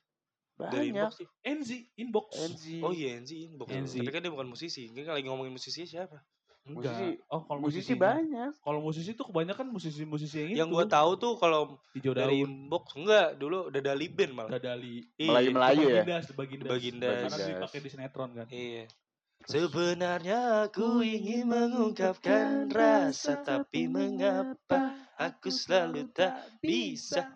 [SPEAKER 2] dari
[SPEAKER 3] Banyak.
[SPEAKER 2] inbox sih
[SPEAKER 1] NZ inbox.
[SPEAKER 3] NZ.
[SPEAKER 2] oh iya Enzi Inbox
[SPEAKER 1] Enzi.
[SPEAKER 2] tapi kan dia bukan musisi ini kan lagi ngomongin musisi siapa
[SPEAKER 1] Enggak.
[SPEAKER 3] musisi-
[SPEAKER 1] oh, kalau
[SPEAKER 3] Musisi
[SPEAKER 1] musisinya.
[SPEAKER 3] banyak.
[SPEAKER 1] Kalau musisi tuh kebanyakan musisi-musisi yang itu.
[SPEAKER 2] yang gua tahu tuh kalau
[SPEAKER 1] Hijau
[SPEAKER 2] dari
[SPEAKER 1] daun,
[SPEAKER 2] inbox enggak dulu udah Dali Band malah
[SPEAKER 1] dadali,
[SPEAKER 2] Iya,
[SPEAKER 3] Melayu Melayu ya.
[SPEAKER 1] Bagindas, Bagindas.
[SPEAKER 2] Bagindas.
[SPEAKER 1] Karena tuh
[SPEAKER 3] Bagindas.
[SPEAKER 1] dipakai di sinetron kan.
[SPEAKER 2] Iya. Sebenarnya aku ingin mengungkapkan rasa tapi mengapa aku selalu tak bisa.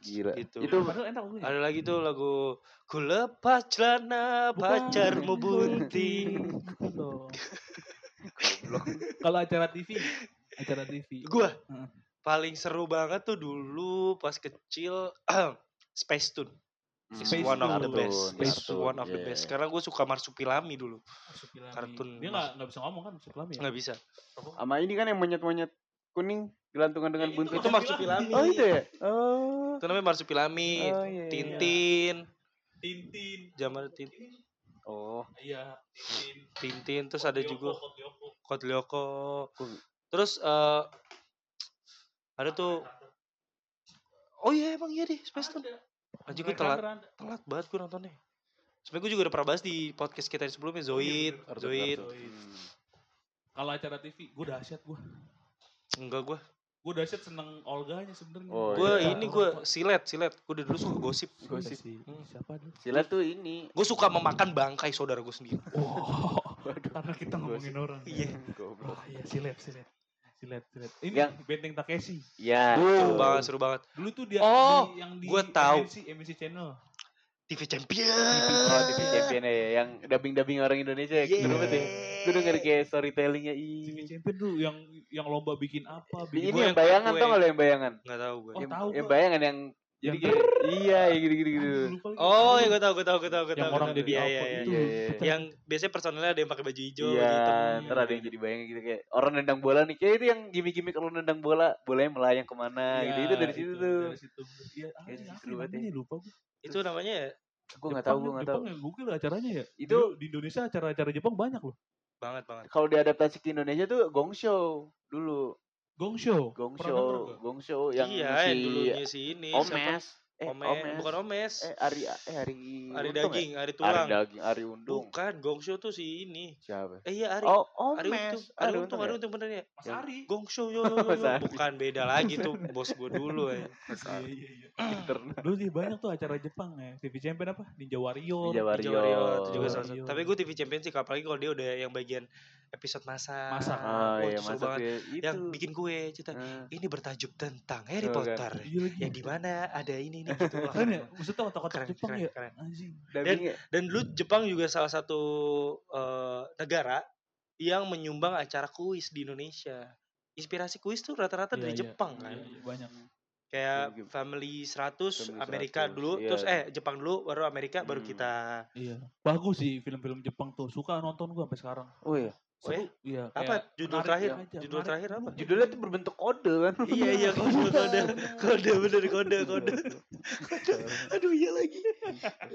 [SPEAKER 3] Gila.
[SPEAKER 2] Gitu.
[SPEAKER 3] Itu
[SPEAKER 1] Padahal enak lagunya.
[SPEAKER 2] Ada lagi tuh lagu Ku lepas celana pacarmu bunting
[SPEAKER 1] Betul. Kalau acara TV, acara TV.
[SPEAKER 2] Gua
[SPEAKER 1] Heeh.
[SPEAKER 2] paling seru banget tuh dulu pas kecil Space Tune
[SPEAKER 3] mm,
[SPEAKER 2] is
[SPEAKER 1] Space
[SPEAKER 2] one of the
[SPEAKER 1] Tune.
[SPEAKER 2] best
[SPEAKER 1] Space
[SPEAKER 2] is one of the
[SPEAKER 3] yeah.
[SPEAKER 2] best Karena gue suka Marsupilami dulu
[SPEAKER 1] Marsupilami.
[SPEAKER 2] Kartun
[SPEAKER 1] Dia nggak nggak bisa ngomong kan Marsupilami ya?
[SPEAKER 2] nggak bisa
[SPEAKER 3] Sama ini kan yang monyet-monyet kuning gelantungan dengan
[SPEAKER 1] Ya,
[SPEAKER 3] buntut.
[SPEAKER 2] Itu Marsupilami
[SPEAKER 3] Oh itu ya. Oh.
[SPEAKER 2] Itu namanya Marsupilami
[SPEAKER 3] Oh, iya, iya.
[SPEAKER 2] Tintin
[SPEAKER 1] Tintin.
[SPEAKER 2] Zaman Tintin
[SPEAKER 3] Oh.
[SPEAKER 1] Iya, Tintin.
[SPEAKER 2] Tintin terus ada juga
[SPEAKER 1] Kotyoko, Kotyoko.
[SPEAKER 2] Kotlioko.
[SPEAKER 3] Kul-
[SPEAKER 2] Terus eh ada tuh Oh iya emang iya deh Space Tune. Anjing gue telat, telat banget gue nontonnya. Sebenernya gue juga udah pernah bahas di podcast kita yang sebelumnya, Zoid,
[SPEAKER 1] bener.
[SPEAKER 2] Zoid.
[SPEAKER 3] Hmm.
[SPEAKER 1] Kalau acara TV, gue dahsyat gue.
[SPEAKER 2] Enggak gue,
[SPEAKER 1] Gue dahsyat seneng Olganya sebenarnya.
[SPEAKER 3] Oh,
[SPEAKER 2] gue
[SPEAKER 3] iya.
[SPEAKER 2] ini gue silet, silet. Gue dari dulu suka gosip.
[SPEAKER 3] Gosip.
[SPEAKER 1] Hmm, Siapa dulu?
[SPEAKER 3] Sila tuh ini.
[SPEAKER 2] Gue suka memakan bangkai saudara gue sendiri.
[SPEAKER 1] Wow.
[SPEAKER 3] Waduh.
[SPEAKER 1] Karena kita ngomongin orang.
[SPEAKER 2] Iya.
[SPEAKER 3] Goblok.
[SPEAKER 1] Wah, iya silet, silet. Silet, silet. Ini
[SPEAKER 3] Yang-
[SPEAKER 1] Benteng Takeshi.
[SPEAKER 3] Ya.
[SPEAKER 2] Seru
[SPEAKER 3] tuh.
[SPEAKER 2] banget, seru banget.
[SPEAKER 1] Dulu tuh dia
[SPEAKER 2] Oh,
[SPEAKER 1] di, yang di
[SPEAKER 2] gua tahu.
[SPEAKER 1] MNC, MNC Channel.
[SPEAKER 2] TV
[SPEAKER 3] Oh, TV
[SPEAKER 2] Champion.
[SPEAKER 3] champion ya, yang dubbing-dubbing orang Indonesia. ya.
[SPEAKER 2] Yeay.
[SPEAKER 3] Seru banget ya. Gue denger kayak storytellingnya.
[SPEAKER 1] TV
[SPEAKER 3] Ih.
[SPEAKER 1] Champion dulu yang yang lomba bikin apa,
[SPEAKER 3] Di
[SPEAKER 1] bikin
[SPEAKER 3] ini
[SPEAKER 2] Gua
[SPEAKER 3] yang
[SPEAKER 2] yang- gua
[SPEAKER 3] bayangan tau
[SPEAKER 2] yang-
[SPEAKER 3] gak lo yang bayangan?
[SPEAKER 2] Nggak tahu gue.
[SPEAKER 1] Oh,
[SPEAKER 3] yang,
[SPEAKER 1] tahu
[SPEAKER 3] yang
[SPEAKER 1] gua.
[SPEAKER 3] bayangan yang
[SPEAKER 1] Yang
[SPEAKER 3] jadi kayak iya ya gitu-gitu gitu.
[SPEAKER 1] Aduh, lupa lagi.
[SPEAKER 2] Oh, ya gue tau, gue tau, gue tau, gue tau.
[SPEAKER 1] yang orang jadi
[SPEAKER 2] iya,
[SPEAKER 1] apa
[SPEAKER 2] iya, iya.
[SPEAKER 1] itu.
[SPEAKER 3] Iya, iya, iya.
[SPEAKER 2] Yang biasanya personelnya ada yang pakai baju hijau,
[SPEAKER 3] Iya,
[SPEAKER 2] baju
[SPEAKER 3] ntar ada yang jadi bayangin gitu kayak orang nendang bola nih. Kayak itu yang gimmick-gimmick kalau nendang bola, bolanya melayang
[SPEAKER 2] Iya,
[SPEAKER 3] kemana gitu. Itu dari situ tuh.
[SPEAKER 1] Dari situ. Iya, ah,
[SPEAKER 3] Dari
[SPEAKER 1] apa
[SPEAKER 3] situ banget ya.
[SPEAKER 1] namanya, lupa gue.
[SPEAKER 2] Itu namanya ya,
[SPEAKER 3] Gue nggak tahu, gue nggak tahu.
[SPEAKER 1] Jepang ya, Google acaranya ya.
[SPEAKER 3] Itu-
[SPEAKER 1] Dulu di Indonesia acara-acara Jepang banyak loh.
[SPEAKER 2] banget, banget.
[SPEAKER 3] Kalau diadaptasi ke Indonesia tuh Gong Show dulu.
[SPEAKER 1] Gong
[SPEAKER 2] Oh,
[SPEAKER 1] Show.
[SPEAKER 3] Gong
[SPEAKER 1] Pernah
[SPEAKER 3] Show,
[SPEAKER 1] denger gua?
[SPEAKER 3] Gong Show yang
[SPEAKER 2] iya, yang
[SPEAKER 3] si
[SPEAKER 2] dulunya si ini. siapa?
[SPEAKER 3] Omes. Eh,
[SPEAKER 2] Omes.
[SPEAKER 3] Omes.
[SPEAKER 2] Bukan Omes.
[SPEAKER 3] Eh, Ari eh Ari
[SPEAKER 2] Ari
[SPEAKER 3] Untung ya?
[SPEAKER 2] daging, Ari
[SPEAKER 3] Ari
[SPEAKER 2] tulang.
[SPEAKER 3] Daging, Ari Undung.
[SPEAKER 2] Bukan, Gongshow tuh si ini.
[SPEAKER 3] Siapa?
[SPEAKER 2] Eh iya Ari.
[SPEAKER 3] Oh,
[SPEAKER 2] Ari Untung,
[SPEAKER 3] Omes.
[SPEAKER 2] Ari Untung, Ari
[SPEAKER 3] ya?
[SPEAKER 2] Untung bener ya.
[SPEAKER 1] Mas
[SPEAKER 3] Yang-
[SPEAKER 1] Ari.
[SPEAKER 2] Gongshow yo, yo, yo,
[SPEAKER 3] Mas
[SPEAKER 2] yo.
[SPEAKER 3] Ari.
[SPEAKER 2] bukan beda lagi tuh bos gue dulu ya.
[SPEAKER 1] Iya, iya, iya.
[SPEAKER 3] Pinter.
[SPEAKER 1] Dulu sih banyak tuh acara Jepang ya. TV Champion apa? Ninja Warrior.
[SPEAKER 2] Ninja
[SPEAKER 3] Ninja
[SPEAKER 2] Warrior itu
[SPEAKER 1] Warrior.
[SPEAKER 2] juga salah satu. Tapi gue TV Champion sih, apalagi kalau dia udah yang bagian episode masa.
[SPEAKER 1] Masak.
[SPEAKER 3] Ah,
[SPEAKER 2] Wah,
[SPEAKER 3] iya,
[SPEAKER 2] itu seru
[SPEAKER 3] masa
[SPEAKER 2] banget.
[SPEAKER 3] tuh ya, itu.
[SPEAKER 2] Yang bikin gue cerita.
[SPEAKER 3] Ah.
[SPEAKER 2] Ini bertajuk tentang Harry
[SPEAKER 3] Tuh kan.
[SPEAKER 2] Potter.
[SPEAKER 1] Iya lagi.
[SPEAKER 2] Yang di mana Ya, ada ini nih gitu. Wah,
[SPEAKER 1] Keren ya? Maksudnya
[SPEAKER 2] Keren,
[SPEAKER 1] otak-otak Jepang
[SPEAKER 2] keren,
[SPEAKER 1] ya?
[SPEAKER 2] keren.
[SPEAKER 1] Anjing.
[SPEAKER 3] Dubbingnya.
[SPEAKER 2] Dan dulu Jepang juga salah satu eh, negara yang menyumbang acara kuis di Indonesia. Inspirasi kuis tuh rata-rata dari
[SPEAKER 1] Iya, iya.
[SPEAKER 2] Jepang kan.
[SPEAKER 1] Iya, iya, Banyak.
[SPEAKER 2] Kayak
[SPEAKER 3] Iya, gitu.
[SPEAKER 2] Family 100
[SPEAKER 3] Family
[SPEAKER 2] Amerika
[SPEAKER 3] 100,
[SPEAKER 2] dulu,
[SPEAKER 3] iya.
[SPEAKER 2] terus eh Jepang dulu baru Amerika baru
[SPEAKER 3] Hmm.
[SPEAKER 2] kita.
[SPEAKER 1] Iya. Bagus sih film-film Jepang tuh. Suka nonton gua sampai sekarang.
[SPEAKER 3] Oh iya.
[SPEAKER 2] Oh,
[SPEAKER 1] Seru.
[SPEAKER 2] ya?
[SPEAKER 1] Iya.
[SPEAKER 2] Apa
[SPEAKER 1] kayak
[SPEAKER 2] judul
[SPEAKER 1] menarik
[SPEAKER 2] terakhir?
[SPEAKER 1] aja,
[SPEAKER 2] Judul
[SPEAKER 1] menarik
[SPEAKER 2] terakhir
[SPEAKER 1] dulu.
[SPEAKER 2] apa?
[SPEAKER 3] Judulnya tuh berbentuk kode kan.
[SPEAKER 2] iya iya kode kode kode bener kode kode.
[SPEAKER 3] Iya,
[SPEAKER 2] Aduh iya lagi.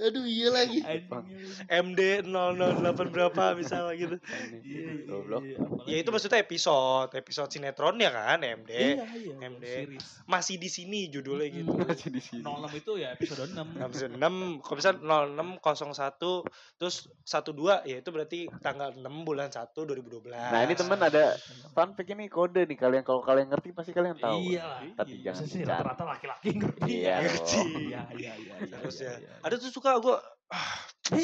[SPEAKER 2] Aduh iya lagi.
[SPEAKER 1] Anjing.
[SPEAKER 2] MD 008 berapa misalnya gitu.
[SPEAKER 1] Iya, iya, iya.
[SPEAKER 3] Goblok.
[SPEAKER 1] Apalagi
[SPEAKER 2] Ya itu maksudnya episode, episode sinetronnya kan MD.
[SPEAKER 1] Iya, iya.
[SPEAKER 2] MD.
[SPEAKER 1] Series.
[SPEAKER 2] Masih di sini judulnya gitu.
[SPEAKER 3] Masih iya. di sini.
[SPEAKER 1] 06 itu ya episode 6.
[SPEAKER 2] Episode 6, kalau bisa 0601 terus 12 ya itu berarti tanggal 6 bulan 1 2012.
[SPEAKER 3] Nah, ini teman ada fun fact ini kode nih kalian kalau kalian ngerti pasti kalian tahu.
[SPEAKER 1] Iya lah.
[SPEAKER 3] Tapi
[SPEAKER 1] Iya,
[SPEAKER 3] jangan
[SPEAKER 1] sih
[SPEAKER 3] bercanda.
[SPEAKER 1] rata-rata laki-laki ngerti.
[SPEAKER 3] Iya.
[SPEAKER 2] Ngerti.
[SPEAKER 3] dong.
[SPEAKER 1] Iya, iya, iya. iya,
[SPEAKER 2] Harusnya.
[SPEAKER 1] iya, iya.
[SPEAKER 2] Ada tuh suka gua
[SPEAKER 1] Apa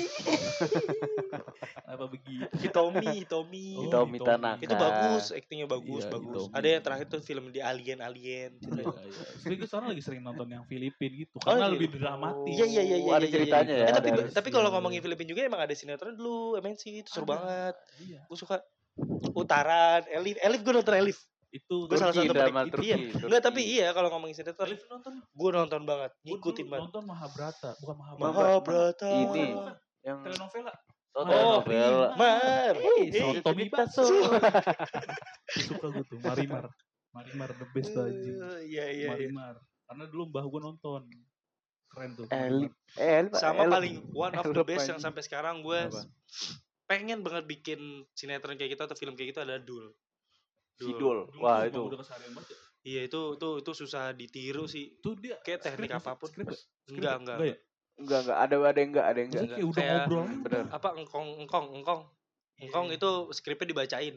[SPEAKER 1] begitu? Iya,
[SPEAKER 2] Hitomi, Hitomi.
[SPEAKER 1] Oh,
[SPEAKER 3] Hitomi
[SPEAKER 1] Hitomi.
[SPEAKER 3] Tanaka.
[SPEAKER 2] Itu bagus, aktingnya bagus,
[SPEAKER 1] Iya,
[SPEAKER 2] bagus.
[SPEAKER 1] Hitomi.
[SPEAKER 2] Ada yang terakhir tuh film di Alien Alien.
[SPEAKER 1] Iya, iya. Tapi gue sekarang lagi sering nonton yang Filipin gitu.
[SPEAKER 2] Oh,
[SPEAKER 1] Karena
[SPEAKER 2] iya.
[SPEAKER 1] lebih dramatis.
[SPEAKER 2] Iya, iya, iya, iya,
[SPEAKER 3] Ada
[SPEAKER 2] iya,
[SPEAKER 3] ceritanya
[SPEAKER 1] iya.
[SPEAKER 3] ya.
[SPEAKER 2] Eh, tapi
[SPEAKER 3] ada-
[SPEAKER 1] gua-
[SPEAKER 2] tapi kalau ngomongin Filipin juga emang ada sinetron dulu, MNC itu seru
[SPEAKER 1] Ada.
[SPEAKER 2] banget.
[SPEAKER 1] Iya.
[SPEAKER 2] Gue suka Utaran, Elif, Elif gue nonton Elif.
[SPEAKER 1] Itu.
[SPEAKER 2] Gue salah
[SPEAKER 3] Turki,
[SPEAKER 2] satu
[SPEAKER 3] drama
[SPEAKER 2] penikmat-
[SPEAKER 3] Turki,
[SPEAKER 2] iya.
[SPEAKER 3] Turki.
[SPEAKER 2] Enggak, tapi iya kalau ngomongin sinetron,
[SPEAKER 1] Alif nonton.
[SPEAKER 2] gue nonton banget,
[SPEAKER 1] Gua
[SPEAKER 2] ngikutin
[SPEAKER 1] dulu
[SPEAKER 2] banget.
[SPEAKER 1] Nonton Mahabharata. Bukan Mahabharata.
[SPEAKER 2] Oh, Mahabharata.
[SPEAKER 3] Ini.
[SPEAKER 1] Bukan,
[SPEAKER 3] yang
[SPEAKER 1] bukan. Telenovela.
[SPEAKER 3] oh,
[SPEAKER 2] Oh,
[SPEAKER 3] novel.
[SPEAKER 2] Mar.
[SPEAKER 1] Soto
[SPEAKER 2] Eh,
[SPEAKER 1] Mibaso. Gua Suka gue tuh. Marimar. Marimar the best tuh anjing.
[SPEAKER 2] Iya, iya, iya.
[SPEAKER 1] Marimar. Karena dulu mbah gue nonton. Keren tuh.
[SPEAKER 3] Elip. Eh, Elip-
[SPEAKER 2] Sama
[SPEAKER 3] Elip.
[SPEAKER 2] paling one of the
[SPEAKER 3] Elep
[SPEAKER 2] best
[SPEAKER 3] aja.
[SPEAKER 2] yang sampai sekarang gue
[SPEAKER 3] Apa?
[SPEAKER 2] pengen banget bikin sinetron kayak gitu atau film kayak gitu adalah Dul.
[SPEAKER 3] Sidul.
[SPEAKER 1] Dulu tuh
[SPEAKER 3] Wah,
[SPEAKER 1] emang
[SPEAKER 3] itu.
[SPEAKER 1] Udah keseharian banget. ya.
[SPEAKER 2] Iya itu itu itu susah ditiru sih.
[SPEAKER 1] Itu dia.
[SPEAKER 2] Kayak teknik
[SPEAKER 1] skrip-
[SPEAKER 2] apapun.
[SPEAKER 1] skrip ya? Skrip
[SPEAKER 2] Enggak,
[SPEAKER 1] ya?
[SPEAKER 2] enggak.
[SPEAKER 1] Enggak ya?
[SPEAKER 3] Enggak, enggak ada ada yang enggak, ada yang enggak.
[SPEAKER 1] Maksudnya kayak udah
[SPEAKER 2] Kayak-
[SPEAKER 1] ngobrol.
[SPEAKER 3] Bener.
[SPEAKER 2] Apa engkong engkong engkong. Engkong itu skripnya dibacain.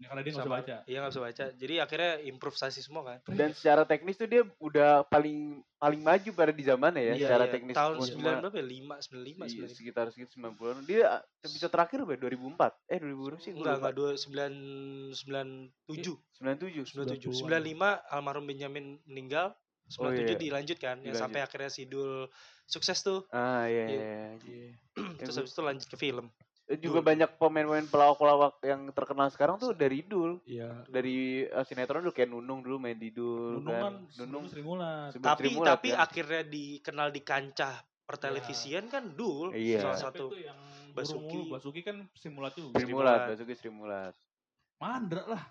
[SPEAKER 1] Ya, karena Iya, dia nggak bisa
[SPEAKER 2] sama-
[SPEAKER 1] baca.
[SPEAKER 2] Iya nggak bisa baca. Jadi akhirnya improvisasi semua kan.
[SPEAKER 3] Dan secara teknis tuh dia udah paling paling maju pada di zamannya ya,
[SPEAKER 2] Iya,
[SPEAKER 3] secara
[SPEAKER 2] iya.
[SPEAKER 3] teknis.
[SPEAKER 2] tahun
[SPEAKER 3] semua-
[SPEAKER 2] 9 berapa ya? 5 95
[SPEAKER 3] Iya,
[SPEAKER 2] 95.
[SPEAKER 3] sekitar sekitu 90-an. Dia ah, episode terakhir berapa? ya? 2004. Eh, 2000 sih. Iya,
[SPEAKER 2] Enggak, enggak 297.
[SPEAKER 3] 97.
[SPEAKER 2] 97.
[SPEAKER 1] 90-an.
[SPEAKER 2] 95 almarhum Benjamin meninggal. 97
[SPEAKER 3] Oh, iya.
[SPEAKER 2] dilanjutkan yang
[SPEAKER 3] Dilanjut.
[SPEAKER 2] kan, ya, sampai akhirnya Sidul sukses tuh.
[SPEAKER 3] Ah,
[SPEAKER 2] Iya.
[SPEAKER 3] iya
[SPEAKER 2] Hmm,
[SPEAKER 3] iya. iya.
[SPEAKER 2] Terus
[SPEAKER 3] gua-
[SPEAKER 2] habis itu lanjut ke film.
[SPEAKER 3] Eh, Juga banyak pemain-pemain pelawak-pelawak yang terkenal sekarang tuh dari Dul.
[SPEAKER 1] Iya.
[SPEAKER 3] Dari eh, sinetron dulu kayak Nunung dulu main di Dul.
[SPEAKER 1] Nunung kan Nunung
[SPEAKER 3] Nunung
[SPEAKER 1] Sri Mulat.
[SPEAKER 3] sebelum
[SPEAKER 2] Tapi
[SPEAKER 3] Sri Mulat,
[SPEAKER 2] tapi
[SPEAKER 3] kan?
[SPEAKER 2] akhirnya dikenal di kancah pertelevisian kan Dul
[SPEAKER 3] Iya.
[SPEAKER 2] salah
[SPEAKER 1] Siapa
[SPEAKER 2] satu
[SPEAKER 1] itu yang Basuki.
[SPEAKER 2] Basuki.
[SPEAKER 1] Basuki kan Sri Mulat tuh.
[SPEAKER 3] Sri
[SPEAKER 2] Sri
[SPEAKER 3] Mulat,
[SPEAKER 2] Mulat.
[SPEAKER 3] Basuki Sri Mulat.
[SPEAKER 1] Mandra lah.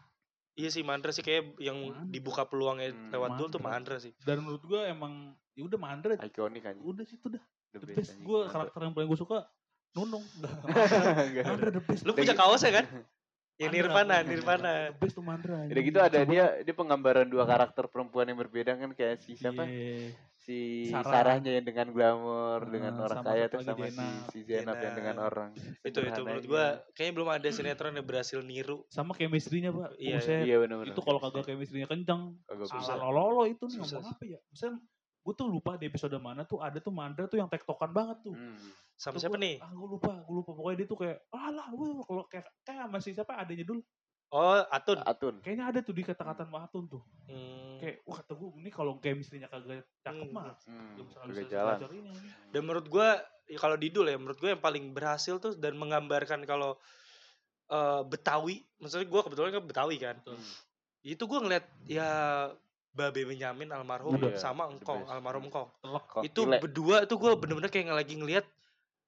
[SPEAKER 2] Iya sih Mandra sih kayak yang
[SPEAKER 1] Mandra.
[SPEAKER 2] dibuka peluangnya
[SPEAKER 3] Hmm,
[SPEAKER 2] lewat Dul tuh
[SPEAKER 1] Mandra.
[SPEAKER 2] Mandra sih.
[SPEAKER 1] Dan menurut gue emang ya udah Mandra.
[SPEAKER 3] Ikonik kan.
[SPEAKER 1] Udah sih itu dah.
[SPEAKER 3] The
[SPEAKER 1] The
[SPEAKER 3] best
[SPEAKER 1] best.
[SPEAKER 3] anjing.
[SPEAKER 1] Gue
[SPEAKER 3] Mantap.
[SPEAKER 1] karakter yang paling gue suka Nunung. Dah, Mandra.
[SPEAKER 3] Enggak.
[SPEAKER 1] Mandra the best.
[SPEAKER 2] Lu punya kaosnya kan? Yang
[SPEAKER 1] Mandra,
[SPEAKER 2] Nirvana,
[SPEAKER 1] punya.
[SPEAKER 2] Nirvana.
[SPEAKER 1] The best tuh Mandra.
[SPEAKER 2] gitu
[SPEAKER 1] Iya.
[SPEAKER 3] Udah gitu ada dia dia penggambaran dua karakter perempuan yang berbeda kan kayak si siapa?
[SPEAKER 1] Iya.
[SPEAKER 3] Si si
[SPEAKER 1] Sarah.
[SPEAKER 3] Sarahnya yang dengan glamor dengan
[SPEAKER 1] Eh,
[SPEAKER 3] orang
[SPEAKER 1] sama
[SPEAKER 3] kaya
[SPEAKER 1] satu
[SPEAKER 3] tuh
[SPEAKER 1] lagi
[SPEAKER 3] sama si
[SPEAKER 1] Jenab.
[SPEAKER 3] si Jenab yang dengan
[SPEAKER 2] Jenab.
[SPEAKER 3] orang
[SPEAKER 2] itu itu menurut
[SPEAKER 3] iya.
[SPEAKER 2] gua kayaknya belum ada sinetron yang berhasil niru
[SPEAKER 1] Sama chemistry-nya, Pak.
[SPEAKER 2] Iya,
[SPEAKER 1] Buset,
[SPEAKER 3] iya benar-benar
[SPEAKER 1] itu kalau kagak chemistry-nya kencang,
[SPEAKER 2] Susah.
[SPEAKER 1] Ala lololo itu nih
[SPEAKER 2] Susah
[SPEAKER 1] ngomong apa ya? Misalnya gue tuh lupa di episode mana tuh ada tuh Mandra tuh yang tektokan banget tuh.
[SPEAKER 2] Hmm,
[SPEAKER 3] Hmm.
[SPEAKER 2] sama
[SPEAKER 1] Tuh
[SPEAKER 2] siapa
[SPEAKER 1] gua-
[SPEAKER 2] nih
[SPEAKER 1] Ah, gue lupa, gue lupa. Pokoknya dia tuh kayak, alah, wah, kalau kayak, kayak masih siapa adanya dulu.
[SPEAKER 2] oh Atun
[SPEAKER 3] Atun
[SPEAKER 1] Kayaknya ada tuh di kata-kata Mahatun tuh.
[SPEAKER 2] Hmm.
[SPEAKER 1] Kayak, wah kata gue, ini kalau chemistry-nya kagak cakep
[SPEAKER 2] Hmm.
[SPEAKER 1] mah.
[SPEAKER 3] Hmm,
[SPEAKER 1] Gak bisa,
[SPEAKER 3] udah
[SPEAKER 1] bisa
[SPEAKER 3] jalan
[SPEAKER 1] selancar ini.
[SPEAKER 2] dan menurut gua ya kalau Didul ya menurut gua yang paling berhasil tuh dan menggambarkan kalau eh, Betawi maksudnya gua kebetulan kan Betawi kan
[SPEAKER 1] Betul.
[SPEAKER 3] Hmm.
[SPEAKER 2] itu gua ngeliat ya Babe Benyamin almarhum
[SPEAKER 3] Iya,
[SPEAKER 2] sama
[SPEAKER 3] the
[SPEAKER 2] Engkong
[SPEAKER 3] best.
[SPEAKER 2] almarhum
[SPEAKER 3] Hmm.
[SPEAKER 2] Engkong
[SPEAKER 1] Telak.
[SPEAKER 3] Kok
[SPEAKER 2] itu
[SPEAKER 3] gile.
[SPEAKER 2] berdua tuh gua bener-bener kayak lagi ngeliat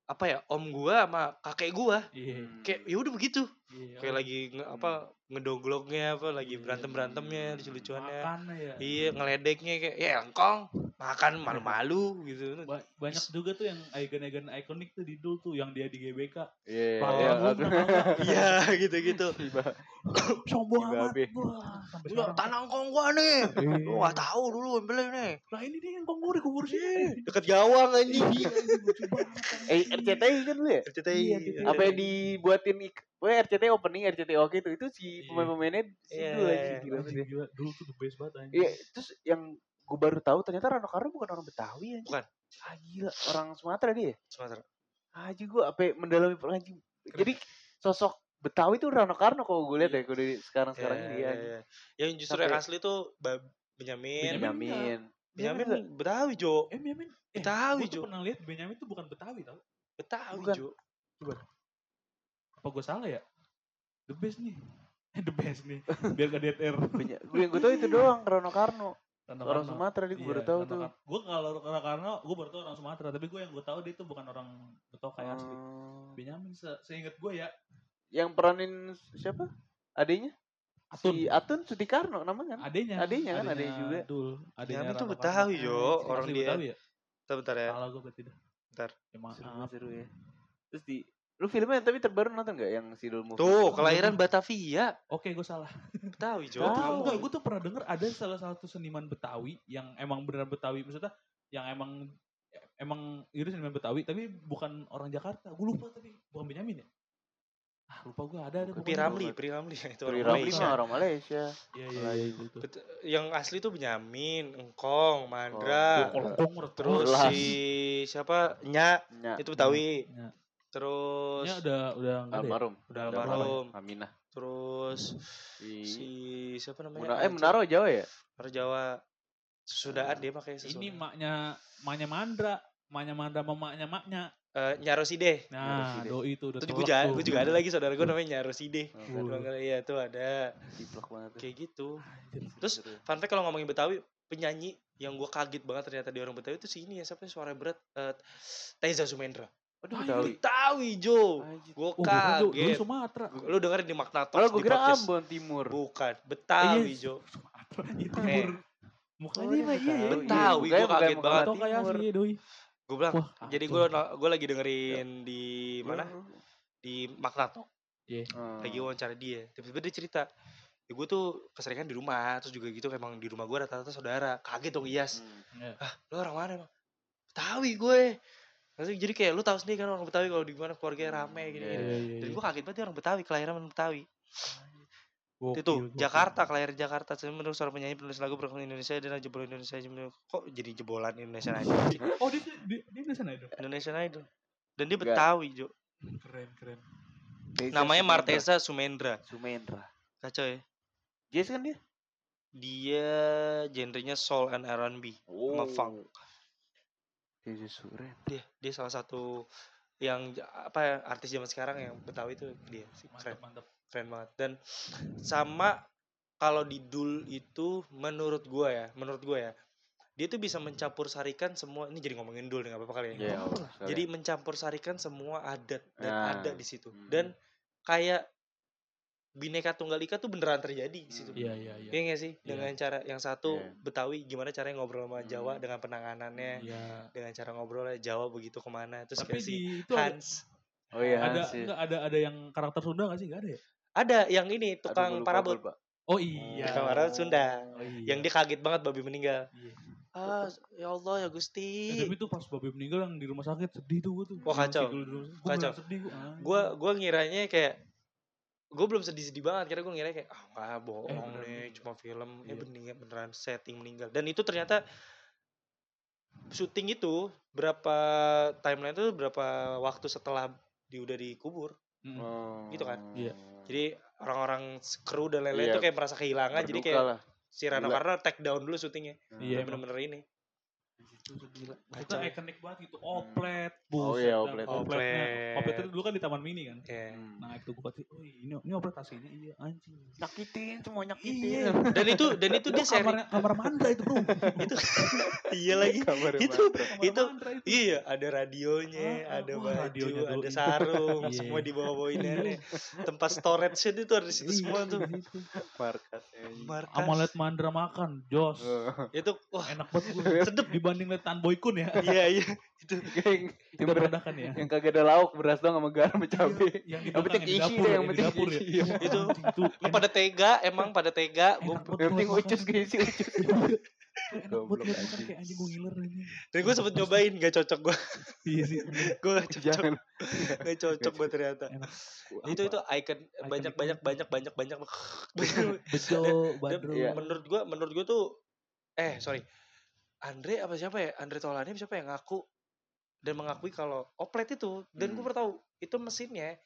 [SPEAKER 2] apa ya om gua sama kakek gua
[SPEAKER 1] Iya.
[SPEAKER 3] Hmm.
[SPEAKER 2] kayak ya udah begitu
[SPEAKER 1] iya.
[SPEAKER 2] kayak lagi nge- apa ngedogloknya apa
[SPEAKER 1] Iya.
[SPEAKER 2] lagi berantem berantemnya lucu lucuannya
[SPEAKER 1] Makannya ya.
[SPEAKER 2] iya ngeledeknya kayak ya engkong makan malu malu gitu
[SPEAKER 1] Ba- banyak juga tuh yang agen-agen ikonik tuh di dul tuh yang dia di GBK.
[SPEAKER 3] Iya, iya,
[SPEAKER 1] Pahlawan lu pernah
[SPEAKER 3] Atun.
[SPEAKER 1] nggak?
[SPEAKER 2] iya gitu gitu
[SPEAKER 3] Tiba-
[SPEAKER 1] Sombong
[SPEAKER 3] Di
[SPEAKER 1] amat.
[SPEAKER 3] babe.
[SPEAKER 1] Wah, sampai
[SPEAKER 2] Enggak,
[SPEAKER 1] sekarang.
[SPEAKER 2] tanah engkong gua nih.
[SPEAKER 1] Iya.
[SPEAKER 2] Lu gak tahu dulu ambilnya nih.
[SPEAKER 1] Lah ini dia yang kok gue dikubur sini.
[SPEAKER 2] Deket gawang
[SPEAKER 1] Iya,
[SPEAKER 2] anjing.
[SPEAKER 1] lucu banget,
[SPEAKER 3] eh
[SPEAKER 1] anjing.
[SPEAKER 3] RCTI kan lu ya
[SPEAKER 2] RCTI.
[SPEAKER 1] Iya, gitu.
[SPEAKER 3] apa yang dibuatin ik- Pokoknya RCTI opening RCTI oke tuh itu si
[SPEAKER 1] Iya.
[SPEAKER 3] pemain-pemainnya
[SPEAKER 2] Iya,
[SPEAKER 3] situ
[SPEAKER 2] iya,
[SPEAKER 3] lagi
[SPEAKER 2] iya.
[SPEAKER 3] gila banget
[SPEAKER 1] Anjing,
[SPEAKER 3] ya.
[SPEAKER 1] gila. Dulu tuh the best banget anjing.
[SPEAKER 3] Iya, terus yang gue baru tahu ternyata Rano Karno bukan orang Betawi anjing.
[SPEAKER 2] Bukan.
[SPEAKER 3] Ah gila, orang Sumatera dia. ya?
[SPEAKER 2] Sumatera.
[SPEAKER 3] Aji gue apa ya, mendalami per- anjing. Jadi sosok Betawi tuh Rano Karno kalau gue lihat ya kalau dari sekarang-sekarang
[SPEAKER 2] Iya,
[SPEAKER 3] ini
[SPEAKER 2] iya,
[SPEAKER 3] ya.
[SPEAKER 2] iya. Yang justru
[SPEAKER 3] Sampai-
[SPEAKER 2] yang asli tuh Bab Benyamin.
[SPEAKER 1] Benyamin
[SPEAKER 3] Benyamin.
[SPEAKER 2] Benyamin Betawi, Jo.
[SPEAKER 1] Eh, Benyamin. Eh, Gue
[SPEAKER 2] Betawi, Jo.
[SPEAKER 1] tuh pernah lihat Benyamin tuh bukan Betawi tau.
[SPEAKER 2] Betawi,
[SPEAKER 3] Bukan.
[SPEAKER 2] Jo.
[SPEAKER 1] Apa gue salah ya? The best nih. Eh, The best nih. Biar gak DTR.
[SPEAKER 3] Benya- Gue yang gue tahu itu doang Rano Karno.
[SPEAKER 1] Rano
[SPEAKER 3] Orang
[SPEAKER 1] Karno.
[SPEAKER 3] Sumatera dia gue baru tahu tuh.
[SPEAKER 1] Gue kalau Rano Karno, gue baru tahu orang Sumatera. Tapi gue yang gue tahu dia tuh bukan orang Betokai asli.
[SPEAKER 3] Hmm.
[SPEAKER 1] Benyamin se seinget gue ya.
[SPEAKER 3] Yang peranin siapa? Adenya? Si Atun Sudikarno namanya kan?
[SPEAKER 1] Adenya.
[SPEAKER 3] Adenya kan, adenya juga.
[SPEAKER 1] Dul. Rano
[SPEAKER 2] Benyamin tuh
[SPEAKER 1] Karno.
[SPEAKER 2] Betawi, Jo.
[SPEAKER 1] Anjing, Eh,
[SPEAKER 2] Orang
[SPEAKER 1] asli
[SPEAKER 2] dia.
[SPEAKER 1] Betawi ya?
[SPEAKER 2] Bentar, bentar ya.
[SPEAKER 1] Salah gue berarti dah.
[SPEAKER 2] Bentar.
[SPEAKER 1] Ya, maaf.
[SPEAKER 3] Seru-seru ya. Terus di Lu filmnya tapi terbaru nonton gak yang Sidul Movie?
[SPEAKER 2] Tuh, kelahiran Batavia.
[SPEAKER 1] Oke, gue salah.
[SPEAKER 2] Betawi, Jo.
[SPEAKER 3] Tahu.
[SPEAKER 1] Tahu enggak? Gue tuh pernah denger ada salah satu seniman Betawi yang emang benar Betawi, maksudnya yang emang emang itu seniman Betawi, tapi bukan orang Jakarta. Gue lupa tapi bukan Benyamin ya. Ah lupa gue ada ada.
[SPEAKER 3] Bukan
[SPEAKER 1] pokoknya.
[SPEAKER 2] Piramli, Piramli itu orang
[SPEAKER 1] Piramli
[SPEAKER 3] Tri Ramli
[SPEAKER 2] Malaysia.
[SPEAKER 3] mah orang Malaysia.
[SPEAKER 1] Iya iya. iya, iya, gitu.
[SPEAKER 2] Bet- Yang asli tuh Benyamin,
[SPEAKER 1] Gua
[SPEAKER 2] Engkong, Mandra,
[SPEAKER 3] Oh.
[SPEAKER 1] kolong
[SPEAKER 2] terus
[SPEAKER 1] Iya, terus.
[SPEAKER 3] Jelas.
[SPEAKER 2] si siapa? Nya,
[SPEAKER 3] Nya.
[SPEAKER 2] itu Betawi.
[SPEAKER 1] Nya.
[SPEAKER 2] Terus
[SPEAKER 1] Ya Iya. udah udah enggak ada. ya?
[SPEAKER 3] Almarhum.
[SPEAKER 1] Udah
[SPEAKER 3] Udah
[SPEAKER 1] almarhum.
[SPEAKER 2] almarhum.
[SPEAKER 3] Aminah.
[SPEAKER 2] Terus si
[SPEAKER 3] Si
[SPEAKER 2] siapa namanya?
[SPEAKER 3] Muna, eh Menaro Jawa ya?
[SPEAKER 2] Menaro Jawa. Sesudaan dia pakai sesudah.
[SPEAKER 1] Nah, Ini maknya maknya Mandra, maknya Mandra sama maknya maknya.
[SPEAKER 2] Eh, Nyaroside.
[SPEAKER 1] Nah,
[SPEAKER 3] Nyaroside.
[SPEAKER 1] doi itu udah
[SPEAKER 2] Itu
[SPEAKER 1] tolak
[SPEAKER 2] juga,
[SPEAKER 1] tuh.
[SPEAKER 2] gua juga ada lagi saudara gue namanya Nyaroside.
[SPEAKER 1] Wuh.
[SPEAKER 2] Doang kali, Iya tuh ada
[SPEAKER 3] Ciplak banget. tuh.
[SPEAKER 2] kayak gitu.
[SPEAKER 1] Anjir.
[SPEAKER 2] Terus fun fact kalau ngomongin Betawi, penyanyi yang gue kaget banget ternyata di orang Betawi itu si ini ya siapa sih? suara berat eh Teza Sumendra.
[SPEAKER 3] Aduh
[SPEAKER 1] Ah,
[SPEAKER 3] Betawi.
[SPEAKER 2] Betawi Jo.
[SPEAKER 3] Anjir.
[SPEAKER 2] Gue
[SPEAKER 1] Oh, bukan, Jo. Dulu
[SPEAKER 2] kaget.
[SPEAKER 1] Sumatera.
[SPEAKER 2] Lu dengerin di Magna
[SPEAKER 3] Kalau
[SPEAKER 2] Talks
[SPEAKER 3] gue
[SPEAKER 2] di
[SPEAKER 3] kira
[SPEAKER 2] podcast.
[SPEAKER 3] Ambon Timur.
[SPEAKER 2] Bukan, Betawi
[SPEAKER 1] Iya.
[SPEAKER 2] Jo.
[SPEAKER 1] Sumatera. Itu
[SPEAKER 2] Eh.
[SPEAKER 1] timur. Mukanya mah iya ya.
[SPEAKER 2] Betawi, gua kaget banget.
[SPEAKER 1] Atau kayak asli ya, doi.
[SPEAKER 2] Gue bilang,
[SPEAKER 1] Wah, Iya, Ya.
[SPEAKER 2] jadi
[SPEAKER 1] kacau.
[SPEAKER 2] gue gue lagi dengerin di mana? Di Magna Talks.
[SPEAKER 3] Hmm.
[SPEAKER 2] lagi
[SPEAKER 1] Hmm.
[SPEAKER 2] wawancara dia tiba-tiba dia cerita ya gue tuh keseringan di rumah terus juga gitu emang di rumah gue rata-rata saudara kaget dong
[SPEAKER 1] Hmm.
[SPEAKER 2] Iyas
[SPEAKER 3] Hmm.
[SPEAKER 2] lo orang mana emang Betawi gue Maksudnya jadi kayak lu tahu sendiri kan orang Betawi kalau di mana keluarganya rame gini,
[SPEAKER 3] Iya,
[SPEAKER 1] Iya,
[SPEAKER 2] gini.
[SPEAKER 1] iya, iya.
[SPEAKER 2] dan gue kaget banget dia orang Betawi kelahiran orang Betawi
[SPEAKER 1] Gokil,
[SPEAKER 2] itu
[SPEAKER 1] gokil.
[SPEAKER 2] Jakarta kelahiran Jakarta Saya menurut seorang penyanyi penulis lagu berkembang Indonesia dan jebol Indonesia Jebol- kok jadi jebolan Indonesia Idol sih?
[SPEAKER 1] Oh, dia dia, dia di sana itu.
[SPEAKER 2] Indonesia Idol dan dia
[SPEAKER 3] Enggak.
[SPEAKER 2] Betawi Jo
[SPEAKER 1] Keren, keren.
[SPEAKER 2] namanya Martesa Sumendra
[SPEAKER 3] Sumendra.
[SPEAKER 2] kacau ya
[SPEAKER 3] Jazz kan dia?
[SPEAKER 2] dia genrenya soul and R&B
[SPEAKER 3] Oh.
[SPEAKER 2] Sama funk.
[SPEAKER 3] Jazz Suren.
[SPEAKER 1] Ya,
[SPEAKER 2] dia dia salah satu yang j- apa ya, artis zaman sekarang yang Betawi itu dia sih keren
[SPEAKER 1] Mantap, mantap.
[SPEAKER 2] keren banget dan sama kalau di Dul itu menurut gua ya menurut gua ya dia tuh bisa mencampur sarikan semua ini jadi ngomongin Dul nih nggak apa-apa kali ya
[SPEAKER 3] Iya.
[SPEAKER 1] oh,
[SPEAKER 3] Allah,
[SPEAKER 2] jadi mencampur sarikan semua adat dan
[SPEAKER 3] Nah.
[SPEAKER 2] ada di situ
[SPEAKER 3] Mm.
[SPEAKER 2] dan kayak bineka tunggal ika tuh beneran terjadi di situ
[SPEAKER 1] Iya, iya, iya.
[SPEAKER 2] Iya nggak sih dengan cara yang satu
[SPEAKER 3] Iya.
[SPEAKER 2] Betawi gimana caranya ngobrol sama Jawa
[SPEAKER 3] Mm.
[SPEAKER 2] dengan penanganannya
[SPEAKER 1] Iya.
[SPEAKER 2] dengan cara ngobrolnya Jawa begitu kemana terus
[SPEAKER 1] Tapi gitu.
[SPEAKER 2] kayak si
[SPEAKER 1] di itu ada,
[SPEAKER 2] Hans
[SPEAKER 3] sorry. Oh iya
[SPEAKER 1] ada
[SPEAKER 3] sih.
[SPEAKER 1] enggak ada ada yang karakter Sunda enggak sih? Enggak ada ya?
[SPEAKER 2] ada yang ini
[SPEAKER 3] Aduh, gua
[SPEAKER 2] tukang
[SPEAKER 3] lupa,
[SPEAKER 2] parabot
[SPEAKER 3] gua lupa.
[SPEAKER 1] Oh iya.
[SPEAKER 2] Tukang parabot Sunda.
[SPEAKER 1] Oh, iya.
[SPEAKER 2] yang dia kaget banget babi meninggal
[SPEAKER 1] Iya.
[SPEAKER 2] ah ya Allah ya
[SPEAKER 1] Ya,
[SPEAKER 2] Gusti
[SPEAKER 1] tapi tuh pas babe meninggal yang di rumah sakit sedih tuh gue tuh.
[SPEAKER 2] Wah, kacau.
[SPEAKER 1] Gue di rumah sakit. Gua Ah, iya.
[SPEAKER 2] Kacau.
[SPEAKER 1] beneran sedih gue.
[SPEAKER 2] gue gue ngiranya kayak gue belum sedih-sedih banget karena gue ngira kayak ah nggak, bohong
[SPEAKER 1] beneran
[SPEAKER 2] nih
[SPEAKER 1] meninggal.
[SPEAKER 2] cuma film eh
[SPEAKER 1] Eh, Iya.
[SPEAKER 2] bener- beneran setting meninggal dan itu ternyata syuting itu berapa timeline itu berapa waktu setelah dia udah dikubur
[SPEAKER 3] Oh,
[SPEAKER 2] Gitu kan?
[SPEAKER 1] Iya.
[SPEAKER 2] jadi orang-orang kru dan lain-lain
[SPEAKER 3] Iya.
[SPEAKER 2] itu kayak merasa kehilangan jadi kayak Hmm.
[SPEAKER 3] lah.
[SPEAKER 2] si Rano
[SPEAKER 3] Gila.
[SPEAKER 2] Karno take down dulu syutingnya
[SPEAKER 1] Iya,
[SPEAKER 2] Udah
[SPEAKER 1] emang.
[SPEAKER 2] bener-bener ini
[SPEAKER 1] Gila. Maksudnya
[SPEAKER 2] Kacau.
[SPEAKER 1] ikonik banget gitu. Oplet.
[SPEAKER 3] ya? Hmm. Oh,
[SPEAKER 1] buset
[SPEAKER 3] iya,
[SPEAKER 1] dah.
[SPEAKER 3] oplet.
[SPEAKER 1] Opletnya.
[SPEAKER 2] Oplet.
[SPEAKER 1] Oplet itu dulu kan di Taman Mini kan.
[SPEAKER 2] ya
[SPEAKER 1] Nah itu gue pasti. Oh ini, ini oplet aslinya. Iya anjing.
[SPEAKER 3] Nyakitin semua
[SPEAKER 1] Iya.
[SPEAKER 3] nyakitin.
[SPEAKER 2] dan itu dan itu dia seri
[SPEAKER 1] Kamar, kamar mandra itu bro. itu.
[SPEAKER 2] iya lagi
[SPEAKER 3] Kabar
[SPEAKER 2] itu
[SPEAKER 1] Kamar
[SPEAKER 2] itu
[SPEAKER 1] mandra itu.
[SPEAKER 2] Iya, ada radionya,
[SPEAKER 1] Ah, ah,
[SPEAKER 2] ada
[SPEAKER 1] wah,
[SPEAKER 2] baju,
[SPEAKER 1] radionya
[SPEAKER 2] ada
[SPEAKER 1] doi.
[SPEAKER 2] sarung,
[SPEAKER 1] Iya. Iya.
[SPEAKER 2] semua dibawa-bawain aja. Tempat storage itu tuh ada di situ semua tuh.
[SPEAKER 3] markas. ya.
[SPEAKER 2] Markas.
[SPEAKER 1] Amulet mandra makan. Jos.
[SPEAKER 2] Itu wah,
[SPEAKER 1] Enak banget gue. Sedep. Dibanding liat Tan Boy Kun ya.
[SPEAKER 2] iya iya.
[SPEAKER 3] yang, yang,
[SPEAKER 1] Kita
[SPEAKER 3] ber-
[SPEAKER 1] merendahkan ya.
[SPEAKER 3] yang kagak ada lauk beras doang sama garam sama
[SPEAKER 2] Iya.
[SPEAKER 3] cabe.
[SPEAKER 1] Yang di
[SPEAKER 3] Yang
[SPEAKER 1] belakang,
[SPEAKER 3] penting
[SPEAKER 1] yang di
[SPEAKER 3] isi
[SPEAKER 1] dapur ya,
[SPEAKER 3] deh, yang
[SPEAKER 1] yang di
[SPEAKER 3] penting
[SPEAKER 1] dapur ya.
[SPEAKER 3] isi.
[SPEAKER 1] Wah,
[SPEAKER 2] Itu.
[SPEAKER 1] anjing, Itu
[SPEAKER 2] Lu
[SPEAKER 1] enak
[SPEAKER 2] pada tega, emang pada tega. Gua,
[SPEAKER 1] Enak banget
[SPEAKER 3] Yang penting
[SPEAKER 1] ngeliat
[SPEAKER 3] ucus
[SPEAKER 1] makan.
[SPEAKER 3] keisi
[SPEAKER 1] Enak
[SPEAKER 3] ucus. Goblok,
[SPEAKER 1] banget ngeliat makan,
[SPEAKER 3] anjing.
[SPEAKER 1] kayak anjing gue ngiler ini.
[SPEAKER 2] dan gue sempet nyobain, gak cocok gue.
[SPEAKER 1] Iya sih.
[SPEAKER 2] Gue gak cocok,
[SPEAKER 3] Jangan.
[SPEAKER 2] gak cocok gue ternyata.
[SPEAKER 1] Enak. Iya.
[SPEAKER 2] Itu itu icon banyak banyak banyak banyak banyak.
[SPEAKER 1] Bejo,
[SPEAKER 2] Dan
[SPEAKER 1] badro.
[SPEAKER 3] Iya.
[SPEAKER 2] menurut gue menurut gue tuh eh sorry Andre apa siapa ya Andre Taulany siapa yang ngaku dan mengakui kalau oplet itu dan gue
[SPEAKER 3] Hmm.
[SPEAKER 2] baru tahu itu mesinnya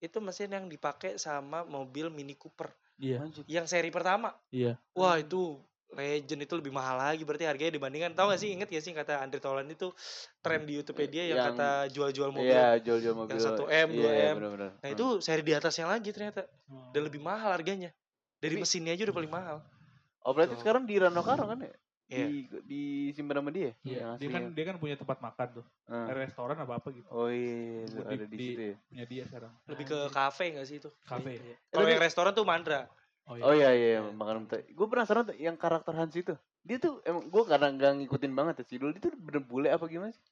[SPEAKER 2] itu mesin yang dipakai sama mobil Mini Cooper
[SPEAKER 1] Iya.
[SPEAKER 2] yang seri pertama
[SPEAKER 1] Iya.
[SPEAKER 2] wah itu legend itu lebih mahal lagi berarti harganya dibandingkan tahu gak sih inget gak sih kata Andre Taulany itu tren di YouTube-nya yang,
[SPEAKER 3] Yang-
[SPEAKER 2] kata jual-jual mobil
[SPEAKER 3] Iya, jual-jual mobil.
[SPEAKER 2] 1M,
[SPEAKER 3] Iya,
[SPEAKER 2] 2M.
[SPEAKER 3] benar-benar.
[SPEAKER 2] nah itu seri di atasnya lagi ternyata dan lebih mahal harganya dari
[SPEAKER 3] Tapi-
[SPEAKER 2] mesinnya aja udah paling mahal
[SPEAKER 3] Oh, berarti sekarang di Rano Karno kan ya?
[SPEAKER 2] Iya.
[SPEAKER 3] Di disimpan sama dia. Yang
[SPEAKER 1] Iya. Nah. Dia
[SPEAKER 3] aslinya.
[SPEAKER 1] kan dia kan punya tempat makan tuh.
[SPEAKER 3] Heeh.
[SPEAKER 1] Restoran apa apa gitu.
[SPEAKER 3] Oh iya, itu
[SPEAKER 1] Di-
[SPEAKER 3] ada di
[SPEAKER 1] di-
[SPEAKER 3] situ ya.
[SPEAKER 1] Punya dia sekarang.
[SPEAKER 2] lebih ke kafe gak sih itu
[SPEAKER 1] kafe. ya?
[SPEAKER 2] Iya. Kalau
[SPEAKER 3] Tapi-
[SPEAKER 2] yang restoran tuh Mandra.
[SPEAKER 1] Oh
[SPEAKER 3] Oh
[SPEAKER 1] iya.
[SPEAKER 3] iya iya,
[SPEAKER 2] Iya.
[SPEAKER 3] makanan Thai. Gue penasaran tuh yang karakter Hans itu. Dia tuh emang gue karena nggak ngikutin banget ya Sidul. Dia tuh bener bule apa gimana sih?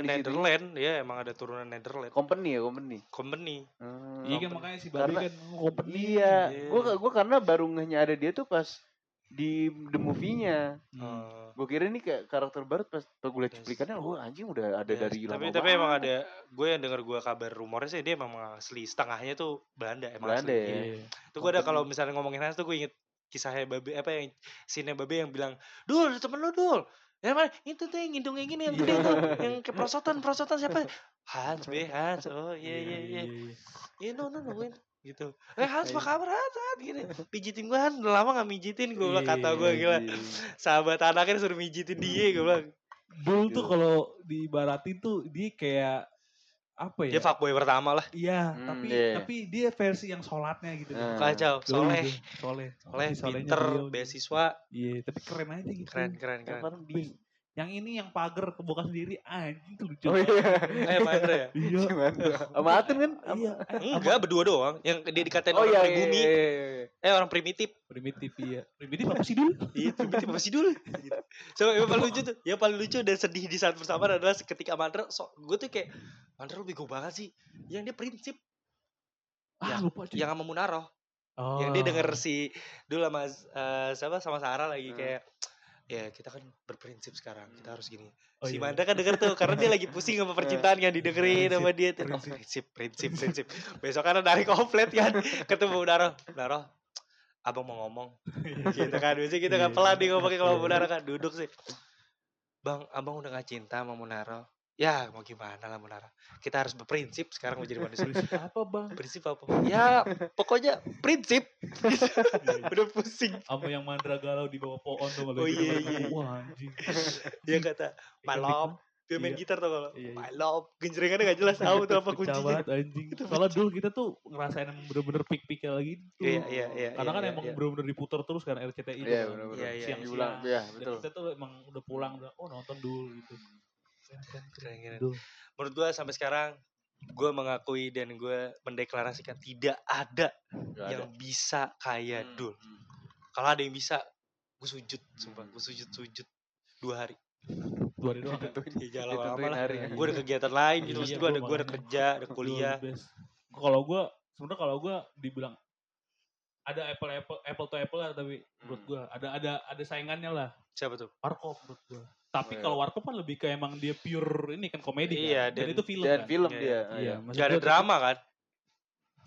[SPEAKER 2] Iya,
[SPEAKER 3] di situ.
[SPEAKER 2] Netherlands, ya emang ada turunan Netherlands.
[SPEAKER 3] Company ya company.
[SPEAKER 2] Company.
[SPEAKER 3] Hmm.
[SPEAKER 1] Iya kan
[SPEAKER 2] Company.
[SPEAKER 1] makanya si Babi
[SPEAKER 3] Karena-
[SPEAKER 1] kan company.
[SPEAKER 3] Iya,
[SPEAKER 2] Iya.
[SPEAKER 3] gue gue karena baru ngehnya ada dia tuh pas di the movie-nya.
[SPEAKER 1] Hmm.
[SPEAKER 2] Eh,
[SPEAKER 3] Gue kira ini kayak karakter baru pas pas gue liat
[SPEAKER 2] Yes.
[SPEAKER 3] cuplikannya, wah anjing udah ada
[SPEAKER 2] ya,
[SPEAKER 3] dari lama
[SPEAKER 2] tapi tapi emang
[SPEAKER 3] banget.
[SPEAKER 2] ada gue yang dengar gue kabar rumornya sih dia emang asli setengahnya tuh Belanda emang
[SPEAKER 3] Belanda
[SPEAKER 2] asli.
[SPEAKER 3] ya.
[SPEAKER 2] Iya.
[SPEAKER 1] Iya.
[SPEAKER 2] Itu gue ada kalau misalnya ngomongin Hans tuh gue inget kisahnya babe apa yang sinnya babe yang bilang, "Dul, temen lu, Dul." Ya mana? Itu tuh yang hidungnya gini yang
[SPEAKER 3] Iya.
[SPEAKER 2] gede tuh, yang ke prosotan, prosotan siapa? Hans, be Hans. Oh iya iya iya. Iya no no no Win. gitu. Eh Hans
[SPEAKER 3] Iya.
[SPEAKER 2] apa kabar Hans? Hans?" Gini. Pijitin gue Hans, udah lama gak mijitin gue bilang kata
[SPEAKER 3] Iya,
[SPEAKER 2] gue
[SPEAKER 3] Oh,
[SPEAKER 2] gila. sahabat anaknya disuruh mijitin dia gue bilang
[SPEAKER 1] Dul tuh
[SPEAKER 3] Gila.
[SPEAKER 1] kalau diibaratin tuh dia kayak apa ya?
[SPEAKER 3] Iya.
[SPEAKER 2] dia fuckboy pertama lah
[SPEAKER 1] Iya,
[SPEAKER 3] Hmm,
[SPEAKER 1] tapi
[SPEAKER 3] iya.
[SPEAKER 1] tapi dia versi yang sholatnya gitu.
[SPEAKER 3] Hmm.
[SPEAKER 2] kacau
[SPEAKER 1] Dul
[SPEAKER 2] soleh
[SPEAKER 1] tuh, soleh,
[SPEAKER 2] soleh
[SPEAKER 3] Iya,
[SPEAKER 1] Versi solehnya
[SPEAKER 2] pinter
[SPEAKER 1] beliau.
[SPEAKER 2] beasiswa
[SPEAKER 1] Iya, tapi keren aja gitu.
[SPEAKER 2] keren keren keren
[SPEAKER 3] Kemarin di
[SPEAKER 1] Yang ini yang pagar kebuka sendiri anjing tuh lucu.
[SPEAKER 3] Oh iya.
[SPEAKER 2] eh Mandra ya
[SPEAKER 1] Iya.
[SPEAKER 3] Sama Atin kan?
[SPEAKER 1] Iya,
[SPEAKER 2] enggak berdua doang yang dia dikatain
[SPEAKER 3] Oh
[SPEAKER 2] orang
[SPEAKER 3] iya, iya,
[SPEAKER 2] pribumi
[SPEAKER 3] iya, iya, iya.
[SPEAKER 2] eh orang primitif
[SPEAKER 1] primitif iya. Primitif apa sih dulu?
[SPEAKER 2] iya primitif apa sih dulu Gitu. so yang paling lucu tuh yang paling lucu dan sedih di saat bersamaan adalah ketika Mandra so, gue tuh kayak Mandra lu bego banget sih yang dia prinsip
[SPEAKER 1] Ah, lupa cuy.
[SPEAKER 2] Iya.
[SPEAKER 3] Iya.
[SPEAKER 2] yang sama Munaro
[SPEAKER 1] Oh.
[SPEAKER 2] yang dia denger si dulu sama eh, siapa sama Sarah lagi
[SPEAKER 3] Hmm.
[SPEAKER 2] kayak ya kita kan berprinsip sekarang kita harus gini
[SPEAKER 1] Oh,
[SPEAKER 2] si
[SPEAKER 1] iya.
[SPEAKER 2] Mandra kan denger tuh karena dia lagi pusing sama percintaan yang didengerin
[SPEAKER 1] Prinsip,
[SPEAKER 2] sama dia tuh. Oh, prinsip prinsip prinsip besok kan dari komplit kan ketemu Naro Naro abang mau ngomong gitu kan biasanya kita
[SPEAKER 1] Iya.
[SPEAKER 2] kan pelan nih ngomongin kalau
[SPEAKER 1] Iya.
[SPEAKER 2] Munaro kan duduk sih bang abang udah gak cinta sama Munaro ya mau gimana lah Munaro kita harus berprinsip sekarang mau jadi manusia
[SPEAKER 1] Prinsip apa, Bang?
[SPEAKER 2] prinsip apa ya pokoknya prinsip udah pusing
[SPEAKER 1] Sama yang mandra galau di bawah pohon tuh kalau
[SPEAKER 2] Iya. Oh,
[SPEAKER 1] gitu.
[SPEAKER 2] iya, iya.
[SPEAKER 1] Wah, anjing.
[SPEAKER 2] dia kata malam dia main
[SPEAKER 1] Iya.
[SPEAKER 2] gitar tau kalau
[SPEAKER 1] Iya, iya.
[SPEAKER 2] malam genjrengannya gak jelas tahu tuh apa
[SPEAKER 1] Pecah
[SPEAKER 2] kuncinya
[SPEAKER 1] banget anjing. Soalnya dulu kita tuh ngerasain emang bener-bener pik-piknya lagi tuh.
[SPEAKER 2] Iya, iya, iya.
[SPEAKER 1] Karena
[SPEAKER 2] iya,
[SPEAKER 1] kan
[SPEAKER 2] iya,
[SPEAKER 1] emang
[SPEAKER 2] iya.
[SPEAKER 1] bener-bener diputer terus kan RCTI.
[SPEAKER 3] Iya,
[SPEAKER 1] tuh kan.
[SPEAKER 3] benar-benar.
[SPEAKER 2] Iya, iya,
[SPEAKER 1] Siang-siang.
[SPEAKER 2] iya.
[SPEAKER 3] Diulang, iya,
[SPEAKER 1] Dan
[SPEAKER 3] betul.
[SPEAKER 1] kita tuh emang udah pulang, udah, oh nonton dulu gitu. Keren, keren, keren.
[SPEAKER 2] Keren, keren.
[SPEAKER 1] Dul.
[SPEAKER 2] Menurut gue sampai sekarang gue mengakui dan gue mendeklarasikan tidak ada
[SPEAKER 3] Nggak ada.
[SPEAKER 2] yang bisa kaya
[SPEAKER 3] Hmm.
[SPEAKER 2] Dul. Kalau ada yang bisa, gue sujud, sumpah, gue sujud sujud dua hari.
[SPEAKER 1] Dua hari doang.
[SPEAKER 3] Ditentuin,
[SPEAKER 2] Ya jalan lama
[SPEAKER 3] ditentuin
[SPEAKER 2] lah.
[SPEAKER 3] hari ya.
[SPEAKER 2] Gue ada kegiatan lain gitu,
[SPEAKER 1] Iya,
[SPEAKER 2] maksud
[SPEAKER 1] gua
[SPEAKER 2] gue ada gue ada Iya.
[SPEAKER 1] makanya.
[SPEAKER 2] kerja, ada
[SPEAKER 1] Dul,
[SPEAKER 2] kuliah.
[SPEAKER 1] the best. Kalau gue, sebenarnya kalau gue dibilang ada apple apple apple to apple lah tapi menurut
[SPEAKER 2] Hmm.
[SPEAKER 1] gua ada ada ada saingannya lah
[SPEAKER 2] Siapa tuh?
[SPEAKER 1] warkop menurut gua tapi
[SPEAKER 3] Iya.
[SPEAKER 1] kalau warkop kan lebih ke emang dia pure ini kan komedi kan?
[SPEAKER 2] Iya,
[SPEAKER 1] dan,
[SPEAKER 2] dan-
[SPEAKER 1] itu film kan
[SPEAKER 3] Dan film
[SPEAKER 2] Iya,
[SPEAKER 3] dia.
[SPEAKER 1] iya maksud
[SPEAKER 2] Gak ada
[SPEAKER 1] gua tuh-
[SPEAKER 2] drama kan?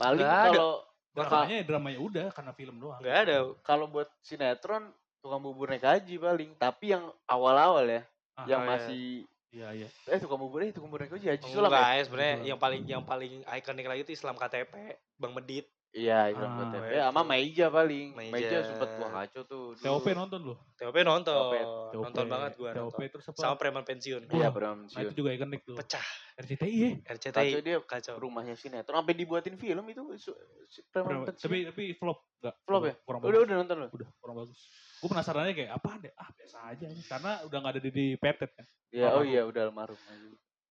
[SPEAKER 3] Paling
[SPEAKER 2] Nggak ada.
[SPEAKER 3] kalau
[SPEAKER 1] dramanya ya dramanya udah karena film doang
[SPEAKER 2] Gak ada.
[SPEAKER 3] kalau buat sinetron tukang bubur naik haji paling, tapi yang awal-awal ya,
[SPEAKER 1] Ah,
[SPEAKER 3] yang
[SPEAKER 2] iya.
[SPEAKER 3] masih
[SPEAKER 1] iya iya
[SPEAKER 3] eh tukang bubur eh tukang bubur naik haji haji sulam.
[SPEAKER 2] Enggak ya
[SPEAKER 3] ya?
[SPEAKER 2] sebenarnya
[SPEAKER 1] Sulam.
[SPEAKER 2] yang paling yang paling ikonik lagi itu Islam KTP, Bang Medit.
[SPEAKER 3] Iya, itu
[SPEAKER 1] Ah,
[SPEAKER 3] buat
[SPEAKER 2] iya,
[SPEAKER 3] ya sama
[SPEAKER 2] itu.
[SPEAKER 3] Meija paling.
[SPEAKER 2] Meija.
[SPEAKER 3] Meija, sempet gua kacau tuh. dulu.
[SPEAKER 1] TOP nonton loh
[SPEAKER 2] TOP nonton.
[SPEAKER 1] TOP.
[SPEAKER 2] Nonton banget gua
[SPEAKER 1] TOP
[SPEAKER 2] nonton.
[SPEAKER 1] terus apa
[SPEAKER 2] Sama preman pensiun.
[SPEAKER 1] Wah,
[SPEAKER 3] Iya,
[SPEAKER 1] nah,
[SPEAKER 3] Bram
[SPEAKER 1] itu
[SPEAKER 3] Siun.
[SPEAKER 1] juga ikonik tuh
[SPEAKER 2] Pecah
[SPEAKER 1] RCTI ya
[SPEAKER 3] Kacau
[SPEAKER 2] RCTI.
[SPEAKER 3] dia
[SPEAKER 2] Kacau.
[SPEAKER 3] rumahnya sinetron sampai dibuatin film itu su- si- preman
[SPEAKER 1] Berapa-
[SPEAKER 3] pensiun.
[SPEAKER 1] tapi tapi flop nggak
[SPEAKER 3] Flop ya?
[SPEAKER 1] kurang
[SPEAKER 3] udah
[SPEAKER 1] bagus
[SPEAKER 3] udah nonton lu.
[SPEAKER 1] udah kurang bagus gue penasarannya kayak apa deh ah biasa aja ini. karena udah nggak ada di, di Petet kan
[SPEAKER 3] Iya, oh
[SPEAKER 1] Almarhum.
[SPEAKER 3] iya udah almarhum.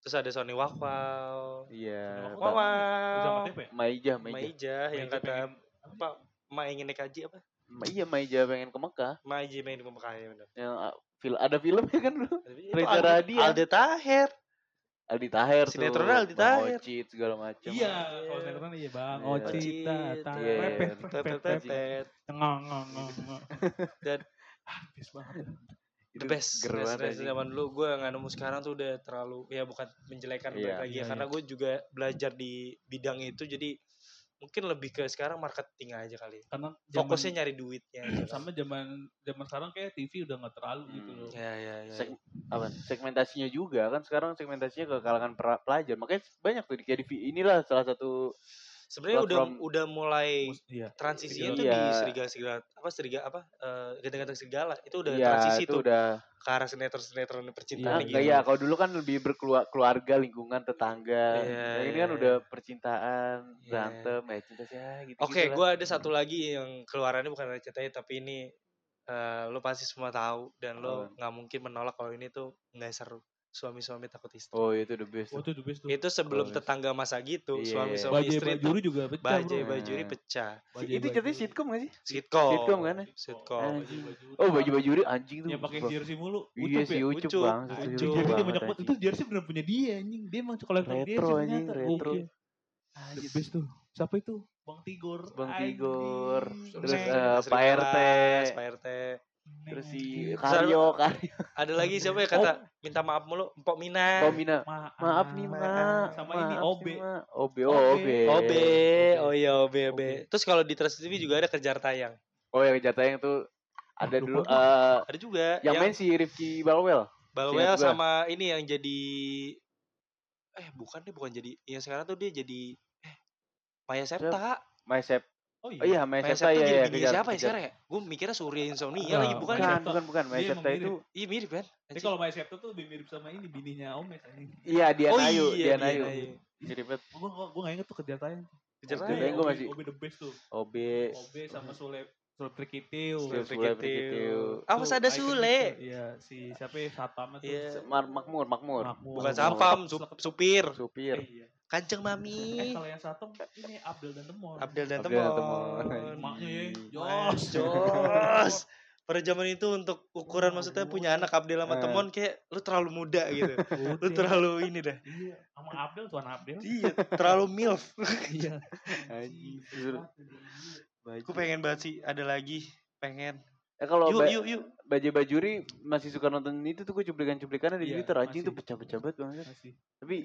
[SPEAKER 2] Terus ada Sony Wakwal.
[SPEAKER 3] Iya.
[SPEAKER 1] Almarhum.
[SPEAKER 3] Ba-
[SPEAKER 1] sama
[SPEAKER 2] Wakwal.
[SPEAKER 1] TP ya?
[SPEAKER 3] Maija, Maija.
[SPEAKER 2] Maija yang
[SPEAKER 1] Maija
[SPEAKER 2] kata
[SPEAKER 1] pengen-
[SPEAKER 2] apa? Ma ingin naik haji apa?
[SPEAKER 3] Ma- Iya, Maija pengen ke Mekah.
[SPEAKER 2] Maija main di Mekah ya benar.
[SPEAKER 3] Yang ah, fil- ada filmnya kan dulu.
[SPEAKER 2] Itu
[SPEAKER 3] Reza
[SPEAKER 2] Aldi-
[SPEAKER 3] Radian.
[SPEAKER 2] Aldi Taher.
[SPEAKER 3] Aldi Taher tuh.
[SPEAKER 2] Sinetronnya Aldi
[SPEAKER 3] Bang
[SPEAKER 2] Taher.
[SPEAKER 3] Ocit, segala macam.
[SPEAKER 1] iya
[SPEAKER 2] Iya.
[SPEAKER 1] kalau sinetron iya bang
[SPEAKER 3] Iya.
[SPEAKER 1] oh cita
[SPEAKER 2] Ocit,
[SPEAKER 1] tang
[SPEAKER 3] iya.
[SPEAKER 1] repet repet repet
[SPEAKER 2] Tetetetet.
[SPEAKER 1] ngong ngong ngong ngong.
[SPEAKER 2] Dan-
[SPEAKER 1] Ah, habis banget
[SPEAKER 2] The best.
[SPEAKER 3] Geru
[SPEAKER 2] Best
[SPEAKER 3] banget
[SPEAKER 2] best
[SPEAKER 3] anjing.
[SPEAKER 2] zaman dulu gue nggak nemu sekarang tuh udah terlalu ya bukan menjelekan
[SPEAKER 3] Iya,
[SPEAKER 2] balik lagi
[SPEAKER 1] iya,
[SPEAKER 2] ya karena gue juga belajar di bidang itu jadi mungkin lebih ke sekarang marketing aja kali.
[SPEAKER 1] karena zaman-
[SPEAKER 2] Fokusnya nyari duitnya. aja kan.
[SPEAKER 1] sama zaman zaman sekarang kayak TV udah nggak terlalu gitu
[SPEAKER 3] Hmm.
[SPEAKER 1] loh
[SPEAKER 2] Ya ya ya.
[SPEAKER 3] Seg- apa segmentasinya juga kan sekarang segmentasinya ke kalangan pra- pelajar makanya banyak tuh di kayak di V- inilah salah satu
[SPEAKER 2] Sebenarnya udah
[SPEAKER 3] platform-
[SPEAKER 2] udah mulai
[SPEAKER 1] Mus- iya
[SPEAKER 2] transisinya
[SPEAKER 3] Serigala.
[SPEAKER 2] tuh di
[SPEAKER 3] Iya.
[SPEAKER 2] serigala serigala apa seriga apa eh, ganteng-ganteng serigala itu udah
[SPEAKER 3] Iya,
[SPEAKER 2] transisi
[SPEAKER 3] itu
[SPEAKER 2] tuh
[SPEAKER 3] udah
[SPEAKER 2] ke arah sinetron sinetron
[SPEAKER 3] Ah,
[SPEAKER 2] percintaan
[SPEAKER 1] Iya,
[SPEAKER 3] enggak
[SPEAKER 2] gitu.
[SPEAKER 3] ya kalau dulu kan lebih berkeluarga lingkungan tetangga
[SPEAKER 2] Iya,
[SPEAKER 3] Kalau ini
[SPEAKER 2] iya,
[SPEAKER 3] kan udah percintaan
[SPEAKER 2] Iya.
[SPEAKER 3] berantem ya cinta sih ya gitu
[SPEAKER 2] Oke, gue ada satu lagi yang keluarannya bukan RCTI tapi ini eh, lo pasti semua tahu dan lo nggak mungkin menolak kalau ini tuh nggak seru. Suami-suami takut istri.
[SPEAKER 3] oh itu the best tuh.
[SPEAKER 1] waktu itu best tuh
[SPEAKER 2] Itu sebelum
[SPEAKER 3] Oh, yes.
[SPEAKER 2] tetangga masa gitu,
[SPEAKER 3] Iya.
[SPEAKER 2] suami-suami
[SPEAKER 1] Bajai
[SPEAKER 2] istri
[SPEAKER 1] Bajuri juga pecah
[SPEAKER 2] Bajai
[SPEAKER 1] bro.
[SPEAKER 3] Bajai
[SPEAKER 2] Bajuri
[SPEAKER 3] Nah.
[SPEAKER 2] pecah.
[SPEAKER 1] Bajai
[SPEAKER 3] itu jadi
[SPEAKER 1] Bajuri.
[SPEAKER 3] sitkom gak sih
[SPEAKER 2] Sitkom.
[SPEAKER 3] Sitkom kan ya?
[SPEAKER 2] Sitkom.
[SPEAKER 1] Bajai
[SPEAKER 3] Anjing.
[SPEAKER 1] Bajuri.
[SPEAKER 3] oh baju bajuri anjing tuh
[SPEAKER 1] yang pakai
[SPEAKER 3] Bang.
[SPEAKER 1] jersey mulu
[SPEAKER 3] iya
[SPEAKER 1] Ucup
[SPEAKER 3] si
[SPEAKER 1] ya?
[SPEAKER 3] ucup
[SPEAKER 2] Ucup.
[SPEAKER 3] bang
[SPEAKER 2] Ucup.
[SPEAKER 3] Itu
[SPEAKER 1] Anjing,
[SPEAKER 3] lucu
[SPEAKER 1] jersey
[SPEAKER 2] Ucup
[SPEAKER 1] itu
[SPEAKER 3] banget,
[SPEAKER 1] banyak banget. Itu
[SPEAKER 3] anjing.
[SPEAKER 1] jersey bener punya dia anjing. Dia emang kolektor
[SPEAKER 3] Retro,
[SPEAKER 1] jersey
[SPEAKER 3] anjing,
[SPEAKER 1] ternyata.
[SPEAKER 3] retro.
[SPEAKER 1] Gokil. The best tuh. Siapa itu? Bang Tigor.
[SPEAKER 3] Bang
[SPEAKER 1] Anjing.
[SPEAKER 3] Tigor. Terus,
[SPEAKER 1] Neng.
[SPEAKER 3] eh, Pak
[SPEAKER 2] Serigala,
[SPEAKER 3] RT.
[SPEAKER 2] Pak RT.
[SPEAKER 1] Neng,
[SPEAKER 3] terus si
[SPEAKER 1] anjing.
[SPEAKER 2] Kak-
[SPEAKER 3] karyo karyo
[SPEAKER 2] Ada lagi siapa ya kata
[SPEAKER 3] Oh.
[SPEAKER 2] minta maaf mulu, Mpok Mina.
[SPEAKER 3] Pomina
[SPEAKER 1] Maaf,
[SPEAKER 3] maaf nih ma
[SPEAKER 1] Sama ini,
[SPEAKER 3] Maaf
[SPEAKER 1] OB.
[SPEAKER 3] nih, Ma. OB
[SPEAKER 1] OB.
[SPEAKER 3] oh OB
[SPEAKER 2] OB, oh iya OB, OB.
[SPEAKER 1] OB.
[SPEAKER 2] Terus kalau di Trans TV juga ada kejar tayang.
[SPEAKER 3] oh yang jatah yang tuh ada
[SPEAKER 1] Lupa
[SPEAKER 3] dulu
[SPEAKER 1] gua.
[SPEAKER 3] eh
[SPEAKER 2] Ada juga
[SPEAKER 3] yang main si Rifki Balwell
[SPEAKER 2] Bawel
[SPEAKER 3] Seingat gua.
[SPEAKER 2] sama ini yang jadi eh bukan deh bukan jadi yang sekarang tuh dia jadi eh Maya Septa.
[SPEAKER 3] Mysep
[SPEAKER 1] Oh
[SPEAKER 3] oh iya
[SPEAKER 2] Maya
[SPEAKER 3] Mysep
[SPEAKER 2] Septa
[SPEAKER 3] ya
[SPEAKER 2] jadi
[SPEAKER 3] ya
[SPEAKER 2] bininya siapa ya sekarang ya? Gue mikirnya Surya Insomnia
[SPEAKER 1] Enggak,
[SPEAKER 2] lagi bukan.
[SPEAKER 3] bukan
[SPEAKER 1] Maya
[SPEAKER 2] ya?
[SPEAKER 1] Septa.
[SPEAKER 3] bukan bukan
[SPEAKER 1] Dia
[SPEAKER 3] Mysep
[SPEAKER 1] emang
[SPEAKER 3] itu
[SPEAKER 2] Iya mirip kan?
[SPEAKER 1] Tapi kalau My Septa tuh lebih mirip sama ini bininya Omes anjing. Oh,
[SPEAKER 3] iya
[SPEAKER 2] Oh
[SPEAKER 3] Dian Ayu Dian
[SPEAKER 2] Dian
[SPEAKER 3] Ayu
[SPEAKER 2] Ayu.
[SPEAKER 3] Jadi bet
[SPEAKER 1] Gua gua gua nggak inget tuh kejar tayang.
[SPEAKER 2] Kejar
[SPEAKER 3] Kejar
[SPEAKER 2] tayang.
[SPEAKER 3] tayang. gua
[SPEAKER 1] OB,
[SPEAKER 3] masih-
[SPEAKER 1] OB the best tuh.
[SPEAKER 3] OB
[SPEAKER 1] OB sama Sule Sule Trikitil.
[SPEAKER 2] Sule
[SPEAKER 3] Sule Sule
[SPEAKER 2] Trikitil.
[SPEAKER 3] Trikitil.
[SPEAKER 2] Ah, masa ada
[SPEAKER 1] Iconic
[SPEAKER 2] Sule?
[SPEAKER 1] tuh. Iya, si siapa ya? Satpam itu.
[SPEAKER 2] Iya.
[SPEAKER 3] Mar- Makmur Makmur
[SPEAKER 1] Makmur.
[SPEAKER 2] Bukan
[SPEAKER 3] Oh.
[SPEAKER 2] Sapam, sup- supir.
[SPEAKER 1] Eh,
[SPEAKER 3] supir
[SPEAKER 1] iya.
[SPEAKER 2] Kanjeng
[SPEAKER 1] Eh,
[SPEAKER 2] Mami.
[SPEAKER 1] kalau yang satu ini Abdul dan Temon.
[SPEAKER 2] Abdel dan
[SPEAKER 3] Abdel dan Temon.
[SPEAKER 2] Temon.
[SPEAKER 1] Emaknya ya.
[SPEAKER 2] Jos,
[SPEAKER 1] Jos,
[SPEAKER 2] Jos. Pada zaman itu untuk ukuran maksudnya punya anak Abdel sama
[SPEAKER 3] Eh.
[SPEAKER 2] Temon kayak lu terlalu muda gitu. lu
[SPEAKER 1] Udah.
[SPEAKER 2] terlalu ini dah.
[SPEAKER 1] Iya, sama Abdel tuan Abdel.
[SPEAKER 2] Iya, terlalu milf.
[SPEAKER 1] Iya.
[SPEAKER 3] Anjing. Suruh.
[SPEAKER 2] Gue pengen banget sih ada lagi pengen.
[SPEAKER 3] eh kalau
[SPEAKER 2] Yuk
[SPEAKER 3] Ba-
[SPEAKER 2] yuk yuk.
[SPEAKER 3] Bajai Bajuri masih suka nonton itu tuh gue cuplikan-cuplikannya di
[SPEAKER 1] Iya,
[SPEAKER 3] Twitter anjing
[SPEAKER 1] masih.
[SPEAKER 3] tuh pecah-pecah banget banget.
[SPEAKER 1] Masih.
[SPEAKER 3] Tapi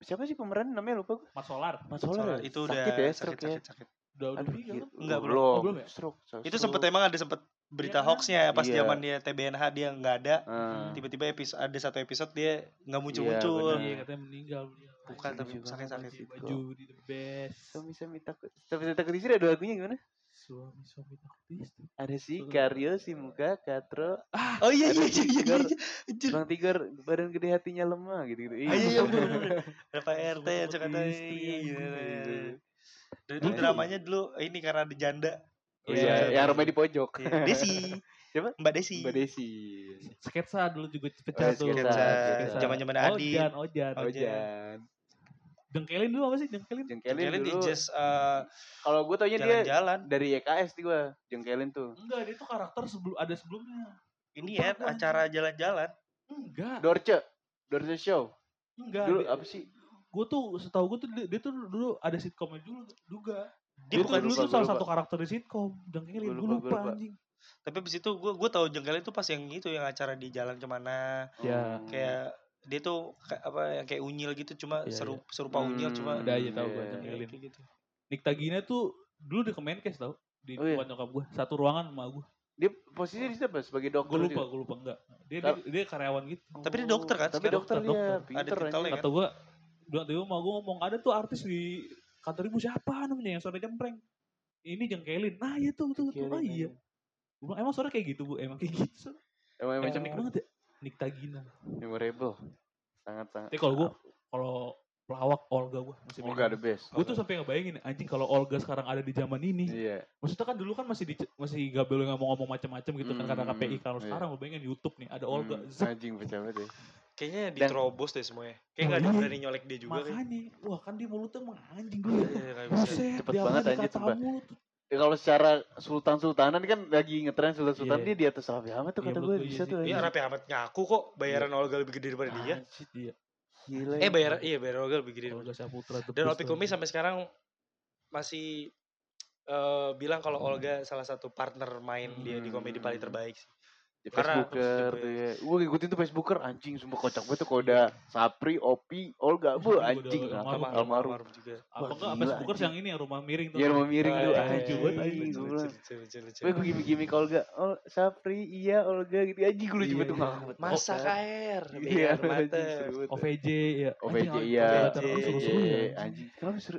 [SPEAKER 3] siapa sih pemeran namanya lupa gue.
[SPEAKER 1] Mas Solar.
[SPEAKER 3] Mas
[SPEAKER 2] Soalnya
[SPEAKER 3] Solar ya?
[SPEAKER 2] itu udah
[SPEAKER 3] sakit ya,
[SPEAKER 2] sakit,
[SPEAKER 3] stroke
[SPEAKER 2] sakit,
[SPEAKER 3] ya.
[SPEAKER 2] sakit.
[SPEAKER 1] Udah udah
[SPEAKER 3] Aduh,
[SPEAKER 1] tiga
[SPEAKER 3] gila.
[SPEAKER 1] kan?
[SPEAKER 2] Enggak, belum.
[SPEAKER 1] Oh, belum ya?
[SPEAKER 3] Stroke, stroke. Ah.
[SPEAKER 2] Itu sempet emang ada sempet berita
[SPEAKER 1] Iya.
[SPEAKER 2] hoaxnya ya pas
[SPEAKER 3] Iya.
[SPEAKER 2] zaman dia TBNH dia nggak ada.
[SPEAKER 3] Ah,
[SPEAKER 2] Hmm, Tiba-tiba episode ada satu episode dia nggak
[SPEAKER 3] Betul.
[SPEAKER 1] Iya,
[SPEAKER 2] muncul-muncul.
[SPEAKER 3] benar.
[SPEAKER 1] katanya meninggal. meninggal.
[SPEAKER 2] Bukan tapi
[SPEAKER 3] Lucu banget
[SPEAKER 2] sakit-sakit.
[SPEAKER 1] Baju- Baju di the best.
[SPEAKER 3] Suami suami takut. Tapi takut istri ada lagunya gimana?
[SPEAKER 1] Suami suami takut istri.
[SPEAKER 3] Ada si Karyo, si Muka, Katro,
[SPEAKER 2] Oh iya iya
[SPEAKER 3] Ada
[SPEAKER 2] iya iya.
[SPEAKER 3] Tigor.
[SPEAKER 2] iya. Anjir.
[SPEAKER 3] Bang Tigor, badan gede hatinya lemah gitu-gitu.
[SPEAKER 2] Ah, Iya, iya,
[SPEAKER 3] bener.
[SPEAKER 2] bener, bener. Ada Pak RT yang suka
[SPEAKER 1] Istri,
[SPEAKER 2] tanya,
[SPEAKER 1] istri,
[SPEAKER 2] iya,
[SPEAKER 1] anjing.
[SPEAKER 2] iya, iya. Dan
[SPEAKER 3] Dulu
[SPEAKER 2] itu
[SPEAKER 3] tuh-
[SPEAKER 2] dramanya dulu ini karena ada janda.
[SPEAKER 3] Oh iya, yang rumah di pojok.
[SPEAKER 2] Iya, Desi.
[SPEAKER 3] Siapa?
[SPEAKER 2] Mbak Desi.
[SPEAKER 3] Mbak Desi.
[SPEAKER 1] Sketsa dulu juga pecah
[SPEAKER 3] Oh,
[SPEAKER 1] tuh.
[SPEAKER 3] sketsa, sketsa.
[SPEAKER 2] Eh, Zaman-zaman Adit.
[SPEAKER 1] Ojan, Ojan.
[SPEAKER 2] Ojan.
[SPEAKER 3] Ojan.
[SPEAKER 1] Dengkelin dulu apa sih? Dengkelin.
[SPEAKER 3] Jengkelin
[SPEAKER 2] Kalian di
[SPEAKER 3] dulu.
[SPEAKER 2] just eh,
[SPEAKER 3] Kalau gue taunya Iya, dia
[SPEAKER 2] jalan-jalan.
[SPEAKER 3] dari E YKS tuh gue. Jengkelin tuh.
[SPEAKER 1] Enggak, dia tuh karakter sebelum ada sebelumnya.
[SPEAKER 2] Ini
[SPEAKER 1] Lupa gua,
[SPEAKER 2] ya
[SPEAKER 1] anjing.
[SPEAKER 2] acara jalan-jalan.
[SPEAKER 1] Enggak,
[SPEAKER 3] Dorce. Dorce Show.
[SPEAKER 1] enggak.
[SPEAKER 3] Dulu
[SPEAKER 1] Dia-
[SPEAKER 3] apa sih?
[SPEAKER 1] Gue tuh setahu gue tuh dia, dia tuh dulu ada sitkomnya dulu juga.
[SPEAKER 2] Dia
[SPEAKER 1] Itu
[SPEAKER 2] bukan
[SPEAKER 1] dulu
[SPEAKER 3] lupa,
[SPEAKER 1] tuh
[SPEAKER 3] gua
[SPEAKER 1] salah
[SPEAKER 3] lupa.
[SPEAKER 1] satu karakter di sitkom. Jengkelin, gue
[SPEAKER 3] Gua lupa, gua
[SPEAKER 1] lupa
[SPEAKER 3] lupa.
[SPEAKER 1] anjing.
[SPEAKER 2] tapi abis itu gue gue tahu jengkelnya itu pas yang itu yang acara di jalan kemana
[SPEAKER 1] Ya.
[SPEAKER 3] Hmm.
[SPEAKER 2] kayak dia tuh kayak apa yang kayak unyil gitu cuma
[SPEAKER 1] Iya,
[SPEAKER 2] seru serupa
[SPEAKER 3] Hmm,
[SPEAKER 2] unyil cuma
[SPEAKER 1] Ada aja tau gue
[SPEAKER 3] Iya.
[SPEAKER 1] jengkelin.
[SPEAKER 2] kayak gitu
[SPEAKER 1] Nick Tagina tuh dulu di Kemenkes tau. Di
[SPEAKER 3] Oh, iya.
[SPEAKER 1] tempat nyokap gue. Satu ruangan sama gue.
[SPEAKER 3] Dia posisinya di siapa? Sebagai dokter.
[SPEAKER 1] Gue lupa,
[SPEAKER 3] dia?
[SPEAKER 1] gue lupa enggak. Dia, dia,
[SPEAKER 3] Tar-
[SPEAKER 1] dia karyawan gitu.
[SPEAKER 2] Tapi dia dokter kan
[SPEAKER 3] Tapi
[SPEAKER 2] sekarang?
[SPEAKER 3] dokter,
[SPEAKER 1] Dokter,
[SPEAKER 3] dia.
[SPEAKER 1] dokter.
[SPEAKER 3] Pinter
[SPEAKER 2] Ada titelnya
[SPEAKER 3] anjing.
[SPEAKER 2] kan?
[SPEAKER 1] Atau gue, dua tiba mau gue ngomong, ada tuh artis di kantor ibu siapa namanya yang suara jempreng. Ini jengkelin. Nah iya tuh, tuh, tuh.
[SPEAKER 3] Kirain
[SPEAKER 1] Ah iya.
[SPEAKER 3] anjing.
[SPEAKER 1] Gua bilang, emang suara kayak gitu bu, emang kayak gitu.
[SPEAKER 3] Emang
[SPEAKER 1] Emang
[SPEAKER 3] emang
[SPEAKER 1] cantik banget ya. Nick Tagina.
[SPEAKER 3] memorable. Sangat sangat.
[SPEAKER 1] Tapi kalau gue, kalau pelawak Olga gue masih
[SPEAKER 3] Oh, gak ada best.
[SPEAKER 1] Gue tuh sampai ngebayangin anjing kalau Olga sekarang ada di zaman ini.
[SPEAKER 3] Iya.
[SPEAKER 1] Maksudnya kan dulu kan masih di, masih gak boleh ngomong-ngomong macam-macam gitu kan karena
[SPEAKER 3] Hmm,
[SPEAKER 1] KPI. Kalau
[SPEAKER 3] iya.
[SPEAKER 1] sekarang gue bayangin YouTube nih ada
[SPEAKER 2] Oh,
[SPEAKER 1] Olga.
[SPEAKER 3] Hmm,
[SPEAKER 1] zek,
[SPEAKER 3] Anjing pecah banget ya.
[SPEAKER 2] kayaknya
[SPEAKER 3] Dan-
[SPEAKER 2] diterobos deh semuanya kayak nggak ada
[SPEAKER 1] Iya.
[SPEAKER 2] yang berani nyolek dia juga kan
[SPEAKER 1] makanya, wah kan di mulutnya emang anjing dulu.
[SPEAKER 2] Iya, nggak bisa.
[SPEAKER 1] Buset,
[SPEAKER 3] Cepet
[SPEAKER 1] dia
[SPEAKER 3] banget
[SPEAKER 1] apaan
[SPEAKER 3] anjing,
[SPEAKER 1] dikata
[SPEAKER 3] sumpah.
[SPEAKER 1] mulut. tuh.
[SPEAKER 3] Ya, kalau secara sultan-sultanan kan lagi ngetren sultan-sultan
[SPEAKER 1] Iya.
[SPEAKER 3] dia di atas Raffi Ahmad tuh
[SPEAKER 1] Iya,
[SPEAKER 3] kata
[SPEAKER 1] menurut
[SPEAKER 3] gue
[SPEAKER 1] gua iya
[SPEAKER 3] bisa
[SPEAKER 1] sih.
[SPEAKER 3] tuh.
[SPEAKER 2] Iya,
[SPEAKER 3] anjing.
[SPEAKER 2] Raffi Ahmad ngaku kok bayaran Olga lebih gede daripada dia.
[SPEAKER 1] Anjing, Iya.
[SPEAKER 3] Gila.
[SPEAKER 2] Eh,
[SPEAKER 3] ya.
[SPEAKER 2] bayaran iya bayaran Olga lebih gede. daripada
[SPEAKER 1] Olga Saputra tuh.
[SPEAKER 2] Dan Opi Kumi sampai sekarang masih eh, bilang kalau Olga salah satu partner main dia di komedi paling
[SPEAKER 3] Hmm.
[SPEAKER 2] terbaik sih.
[SPEAKER 3] Di
[SPEAKER 2] Karena-
[SPEAKER 3] Facebooker tuh ya. Gue ngikutin tuh Facebooker anjing sumpah kocak banget tuh kalau udah Sapri, Opi, Olga, bu
[SPEAKER 1] Iya,
[SPEAKER 3] anjing
[SPEAKER 1] udah
[SPEAKER 3] ngakak
[SPEAKER 1] almarhum.
[SPEAKER 3] almarhum.
[SPEAKER 2] juga.
[SPEAKER 1] apa
[SPEAKER 3] Wah,
[SPEAKER 1] enggak apa
[SPEAKER 3] gila,
[SPEAKER 1] Spookers
[SPEAKER 3] anjing.
[SPEAKER 1] yang ini yang rumah miring tuh.
[SPEAKER 3] Iya rumah miring tuh
[SPEAKER 1] iya, iya,
[SPEAKER 3] anjing.
[SPEAKER 1] lucu banget,
[SPEAKER 3] anjing, gue bilang. Gue
[SPEAKER 2] Gue
[SPEAKER 3] gue gimmick-gimmick Olga, oh Sapri, iya Olga gitu anjing gue lucu
[SPEAKER 1] Iya,
[SPEAKER 3] banget tuh
[SPEAKER 1] iya.
[SPEAKER 3] ngakak banget.
[SPEAKER 2] Masa kan? air,
[SPEAKER 3] oh, Iya,
[SPEAKER 2] biar mata.
[SPEAKER 3] anjing, seru
[SPEAKER 2] Oh,
[SPEAKER 3] banget.
[SPEAKER 1] OVJ ya.
[SPEAKER 3] OVJ
[SPEAKER 1] Anjing,
[SPEAKER 3] iya,
[SPEAKER 1] Alga Saputra
[SPEAKER 2] OVJ,
[SPEAKER 1] tuh seru-seru ya,
[SPEAKER 3] OVJ,
[SPEAKER 1] anjing.
[SPEAKER 3] anjing. Kenapa seru?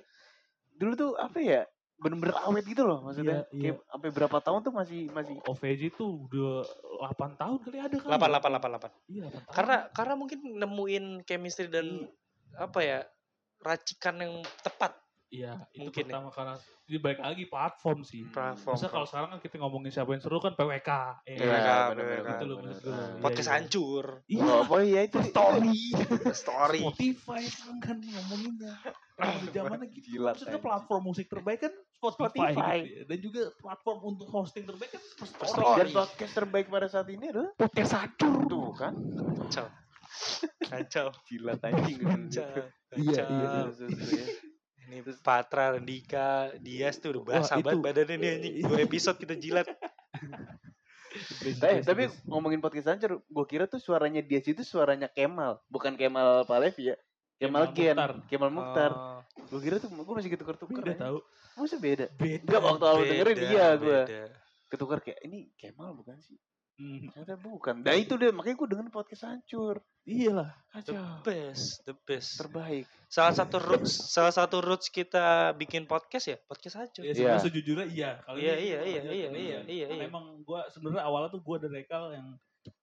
[SPEAKER 3] Dulu tuh apa ya? Bener-bener awet gitu loh maksudnya.
[SPEAKER 1] Iya,
[SPEAKER 3] Kayak sampai berapa tahun tuh masih masih
[SPEAKER 1] OVJ tuh udah 8 tahun kali ada kan.
[SPEAKER 2] Lapan, lapan, lapan, lapan.
[SPEAKER 1] Iya, 8 tahun.
[SPEAKER 2] Karena karena mungkin nemuin chemistry dan apa ya racikan yang tepat
[SPEAKER 1] iya, itu
[SPEAKER 2] mungkin ya.
[SPEAKER 1] pertama karena jadi baik lagi platform sih.
[SPEAKER 3] Hmm.
[SPEAKER 2] platform.
[SPEAKER 1] Masa kalau sekarang kan kita ngomongin siapa yang seru kan PWK. Ya,
[SPEAKER 2] Iya,
[SPEAKER 1] kan?
[SPEAKER 3] bener-bener,
[SPEAKER 2] bener-bener.
[SPEAKER 1] Gitu loh,
[SPEAKER 3] bener-bener.
[SPEAKER 1] maksud gua.
[SPEAKER 3] Ah.
[SPEAKER 1] Iya,
[SPEAKER 2] podcast
[SPEAKER 1] iya.
[SPEAKER 2] hancur,
[SPEAKER 1] Iya,
[SPEAKER 3] Oh, apa ya itu
[SPEAKER 2] story, story.
[SPEAKER 1] Spotify sekarang kan ngomonginnya. Emang di zamannya gitu.
[SPEAKER 3] Gila.
[SPEAKER 1] Maksudnya platform musik terbaik kan Spotify,
[SPEAKER 3] Spotify.
[SPEAKER 1] gitu ya. dan juga platform untuk hosting terbaik kan
[SPEAKER 2] Story.
[SPEAKER 1] Spotify.
[SPEAKER 3] Dan podcast terbaik pada saat ini adalah
[SPEAKER 1] Podcast satu.
[SPEAKER 3] tuh kan.
[SPEAKER 2] Kacau. Kacau.
[SPEAKER 3] Gila anjing gitu.
[SPEAKER 2] Kacau.
[SPEAKER 1] Iya,
[SPEAKER 2] Kacau.
[SPEAKER 3] Iya, terus, terus, terus, ya.
[SPEAKER 2] Ini Patra, Dika, Dias tuh udah basah
[SPEAKER 1] Wah, itu.
[SPEAKER 2] banget badannya nih anjing.
[SPEAKER 3] Iya.
[SPEAKER 2] Dua episode kita jilat.
[SPEAKER 3] Eh, tapi ngomongin podcast hancur, gue kira tuh suaranya dia itu suaranya Kemal, bukan Kemal Palevi ya. Kemal
[SPEAKER 1] Kemal
[SPEAKER 3] Gen,
[SPEAKER 1] Mukhtar.
[SPEAKER 3] Kemal Mukhtar.
[SPEAKER 2] Oh,
[SPEAKER 3] Gue kira tuh gue masih ketukar-tukar.
[SPEAKER 1] Udah
[SPEAKER 3] ya.
[SPEAKER 1] tahu.
[SPEAKER 3] Masa beda?
[SPEAKER 1] Beda.
[SPEAKER 3] Enggak waktu awal dengerin
[SPEAKER 2] beda,
[SPEAKER 3] iya gue
[SPEAKER 2] beda.
[SPEAKER 3] ketukar kayak ini Kemal bukan sih?
[SPEAKER 1] Hmm.
[SPEAKER 3] Ternyata bukan. Nah itu deh makanya gue dengerin podcast hancur.
[SPEAKER 1] Iyalah.
[SPEAKER 2] The
[SPEAKER 3] Kacau.
[SPEAKER 2] best, the best.
[SPEAKER 3] Terbaik.
[SPEAKER 2] Salah satu roots, salah satu roots kita bikin podcast ya, podcast aja.
[SPEAKER 1] Ya,
[SPEAKER 2] Iya,
[SPEAKER 1] sebenarnya sejujurnya iya. Kalau
[SPEAKER 2] iya,
[SPEAKER 1] ini
[SPEAKER 2] iya,
[SPEAKER 1] kita
[SPEAKER 2] iya,
[SPEAKER 1] lanjut
[SPEAKER 2] iya,
[SPEAKER 1] dulu
[SPEAKER 2] iya,
[SPEAKER 1] kan.
[SPEAKER 2] iya,
[SPEAKER 1] Karena
[SPEAKER 2] iya.
[SPEAKER 1] Emang gua sebenarnya awalnya tuh gua ada rekal yang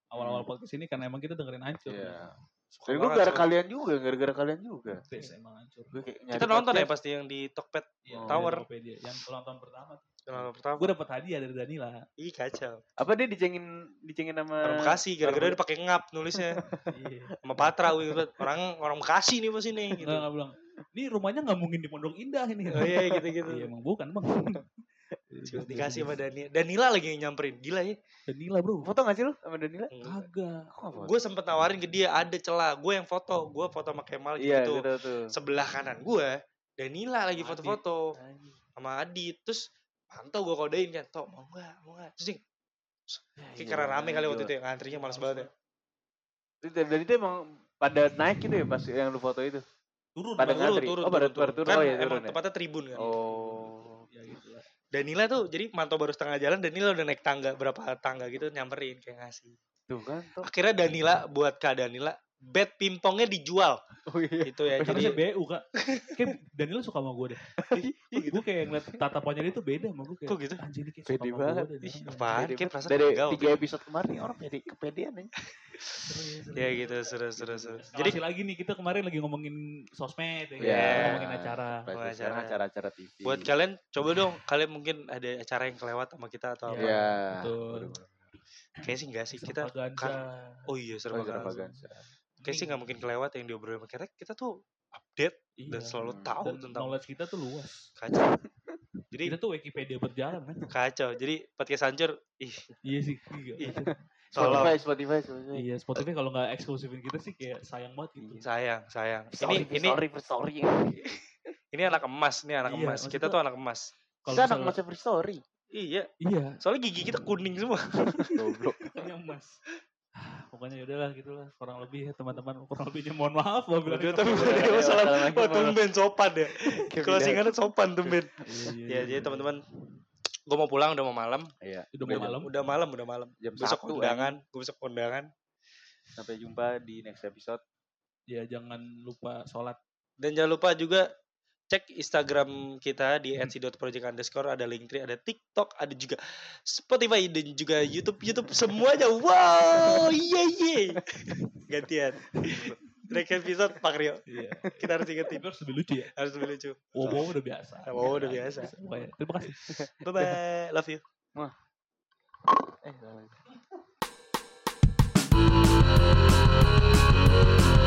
[SPEAKER 1] awal-awal podcast ini karena emang kita dengerin hancur.
[SPEAKER 3] Iya.
[SPEAKER 2] Suka
[SPEAKER 3] Dan gue
[SPEAKER 2] banget
[SPEAKER 3] gara
[SPEAKER 2] sama-
[SPEAKER 3] kalian juga, gara-gara kalian juga.
[SPEAKER 1] Best emang hancur.
[SPEAKER 3] Gue kayak nyari
[SPEAKER 2] Kita nonton ya
[SPEAKER 3] podcast.
[SPEAKER 2] pasti yang di Tokped
[SPEAKER 1] Iya,
[SPEAKER 3] Oh.
[SPEAKER 2] Tower.
[SPEAKER 1] dari Tokopedia. Yang ulang tahun pertama.
[SPEAKER 2] pengalaman pertama.
[SPEAKER 1] Gue dapet hadiah dari Danila.
[SPEAKER 2] Ih kacau.
[SPEAKER 3] Apa dia dicengin dicengin sama
[SPEAKER 2] Orang Bekasi gara-gara
[SPEAKER 3] Eh, orang-
[SPEAKER 2] dia pakai ngap nulisnya
[SPEAKER 1] Iya.
[SPEAKER 2] sama Patra wih, liat. orang orang Bekasi nih bos ini gitu.
[SPEAKER 1] Nggak, nggak bilang. Ini rumahnya nggak mungkin di Pondok Indah ini.
[SPEAKER 3] Eh.
[SPEAKER 2] Oh iya gitu-gitu.
[SPEAKER 1] Iya, emang bukan bang.
[SPEAKER 2] Cuma dikasih sama Dani. Danila lagi yang nyamperin. Gila ya.
[SPEAKER 1] Danila bro.
[SPEAKER 3] Foto gak sih lu sama Danila?
[SPEAKER 1] Kagak.
[SPEAKER 3] Kok nggak foto?
[SPEAKER 2] Gue sempet nawarin ke dia ada celah. Gue yang foto. Gue foto sama Kemal gitu.
[SPEAKER 3] Iya gitu tuh.
[SPEAKER 2] Sebelah kanan gue Danila lagi
[SPEAKER 1] Adit.
[SPEAKER 2] foto-foto sama Adit. Terus pantau gue kodein kan. Tok mau gak? Mau gak? Terus ding.
[SPEAKER 3] Iya,
[SPEAKER 2] Kayak karena rame kali waktu itu ya. Ngantrinya males banget ya.
[SPEAKER 3] Dan itu emang pada naik gitu ya pas yang lu foto itu.
[SPEAKER 1] Turun.
[SPEAKER 3] Pada
[SPEAKER 1] Bang.
[SPEAKER 3] nggak- ngantri. Oh, pada- pada turun.
[SPEAKER 2] Kan
[SPEAKER 3] Oh, iya,
[SPEAKER 2] emang
[SPEAKER 3] turun ya.
[SPEAKER 2] tempatnya tribun kan.
[SPEAKER 3] Oh.
[SPEAKER 1] Ya gitu lah.
[SPEAKER 2] Danila tuh jadi mantau baru setengah jalan. Danila udah naik tangga. Berapa tangga gitu nyamperin kayak ngasih.
[SPEAKER 3] Tuh kan tuh.
[SPEAKER 2] Akhirnya Danila buat Kak Danila. Bet pingpongnya dijual.
[SPEAKER 3] Oh iya.
[SPEAKER 2] Gitu ya.
[SPEAKER 1] Harusnya
[SPEAKER 2] Jadi
[SPEAKER 1] BU kak. Kayak Danila suka sama gue deh. Gue kayak ngeliat tatapannya dia tuh beda sama gue. Kayak,
[SPEAKER 2] Iya, gitu. Kok gitu?
[SPEAKER 1] Anjing ini kayak
[SPEAKER 3] Pede
[SPEAKER 1] suka sama
[SPEAKER 3] banget.
[SPEAKER 1] gue.
[SPEAKER 2] Ih, apaan? Kayak
[SPEAKER 3] Pede banget.
[SPEAKER 2] perasaan
[SPEAKER 3] Dari
[SPEAKER 2] Kan gagal.
[SPEAKER 3] tiga episode kemarin nih orang jadi kepedean nih. Iya
[SPEAKER 2] Ya gitu, seru, seru, seru.
[SPEAKER 1] Jadi
[SPEAKER 2] Jadi
[SPEAKER 1] Nah, lagi nih kita kemarin lagi ngomongin sosmed, ya, kan?
[SPEAKER 2] Iya.
[SPEAKER 1] ngomongin acara.
[SPEAKER 2] Mulai
[SPEAKER 3] Mulai sekarang
[SPEAKER 2] acara.
[SPEAKER 3] acara-acara TV.
[SPEAKER 2] buat kalian coba dong, kalian mungkin ada acara yang kelewat sama kita atau apa.
[SPEAKER 1] Iya.
[SPEAKER 3] Iya.
[SPEAKER 1] Betul.
[SPEAKER 2] Kayaknya sih enggak sih kita.
[SPEAKER 1] Propaganda.
[SPEAKER 2] kan- Oh iya, seru
[SPEAKER 3] Oh,
[SPEAKER 2] banget.
[SPEAKER 3] Extravaganza.
[SPEAKER 2] Kayaknya sih nggak mungkin kelewat yang diobrolin sama kita. Kita tuh update
[SPEAKER 1] Iya.
[SPEAKER 2] dan selalu
[SPEAKER 3] Hmm.
[SPEAKER 2] tahu
[SPEAKER 1] Dan
[SPEAKER 2] tentang
[SPEAKER 1] knowledge kita tuh luas.
[SPEAKER 2] kacau. Jadi
[SPEAKER 1] Kita tuh Wikipedia berjalan kan.
[SPEAKER 2] kacau. Jadi podcast hancur. Ih,
[SPEAKER 1] Iya sih. Iya,
[SPEAKER 2] Iya.
[SPEAKER 3] Spotify,
[SPEAKER 2] tolong.
[SPEAKER 3] Spotify, Spotify.
[SPEAKER 1] Iya, Spotify kalau nggak eksklusifin kita sih kayak sayang banget gitu.
[SPEAKER 2] Sayang, sayang. Ini
[SPEAKER 3] Sorry,
[SPEAKER 2] ini
[SPEAKER 3] sorry, sorry.
[SPEAKER 2] ini anak emas, ini anak
[SPEAKER 1] Iya,
[SPEAKER 2] emas. Kita
[SPEAKER 1] maksudnya-
[SPEAKER 2] tuh anak emas.
[SPEAKER 1] Kalau
[SPEAKER 3] Kita anak
[SPEAKER 1] misalnya-
[SPEAKER 3] masa free story.
[SPEAKER 2] Iya,
[SPEAKER 1] Iya,
[SPEAKER 2] soalnya gigi kita kuning semua.
[SPEAKER 3] Goblok.
[SPEAKER 1] ini emas. Pokoknya ya yaudahlah gitulah kurang lebih ya, teman-teman kurang lebihnya mohon maaf Oh, gua bilang. gitu.
[SPEAKER 2] Tapi
[SPEAKER 3] Iya, iya,
[SPEAKER 2] masalah
[SPEAKER 3] assalamualaikum
[SPEAKER 2] oh, tumben sopan ya.
[SPEAKER 3] Kayak pindah.
[SPEAKER 2] Closingannya sopan tumben.
[SPEAKER 1] Iya, iya,
[SPEAKER 2] Ya,
[SPEAKER 1] iya.
[SPEAKER 2] jadi teman-teman gue mau pulang udah mau malam.
[SPEAKER 3] Iya,
[SPEAKER 1] udah mau malam.
[SPEAKER 2] Udah malam, udah malam.
[SPEAKER 3] jam
[SPEAKER 2] Besok
[SPEAKER 3] satu kan.
[SPEAKER 2] kondangan, gue besok kondangan.
[SPEAKER 3] Sampai jumpa di next episode.
[SPEAKER 1] Ya jangan lupa sholat.
[SPEAKER 2] Dan jangan lupa juga cek Instagram kita di @si.project underscore ada Linktree, ada TikTok, ada juga Spotify dan juga YouTube YouTube semuanya. Wow, iya iya. Gantian. Next episode Pak Rio.
[SPEAKER 1] Iya.
[SPEAKER 2] Kita harus ingetin.
[SPEAKER 1] Tapi harus lebih lucu ya.
[SPEAKER 2] Harus lebih lucu.
[SPEAKER 1] Wow udah biasa.
[SPEAKER 2] Wow, udah biasa.
[SPEAKER 1] Pokoknya, Terima kasih.
[SPEAKER 2] Bye bye. Love you.
[SPEAKER 3] Eh, salah.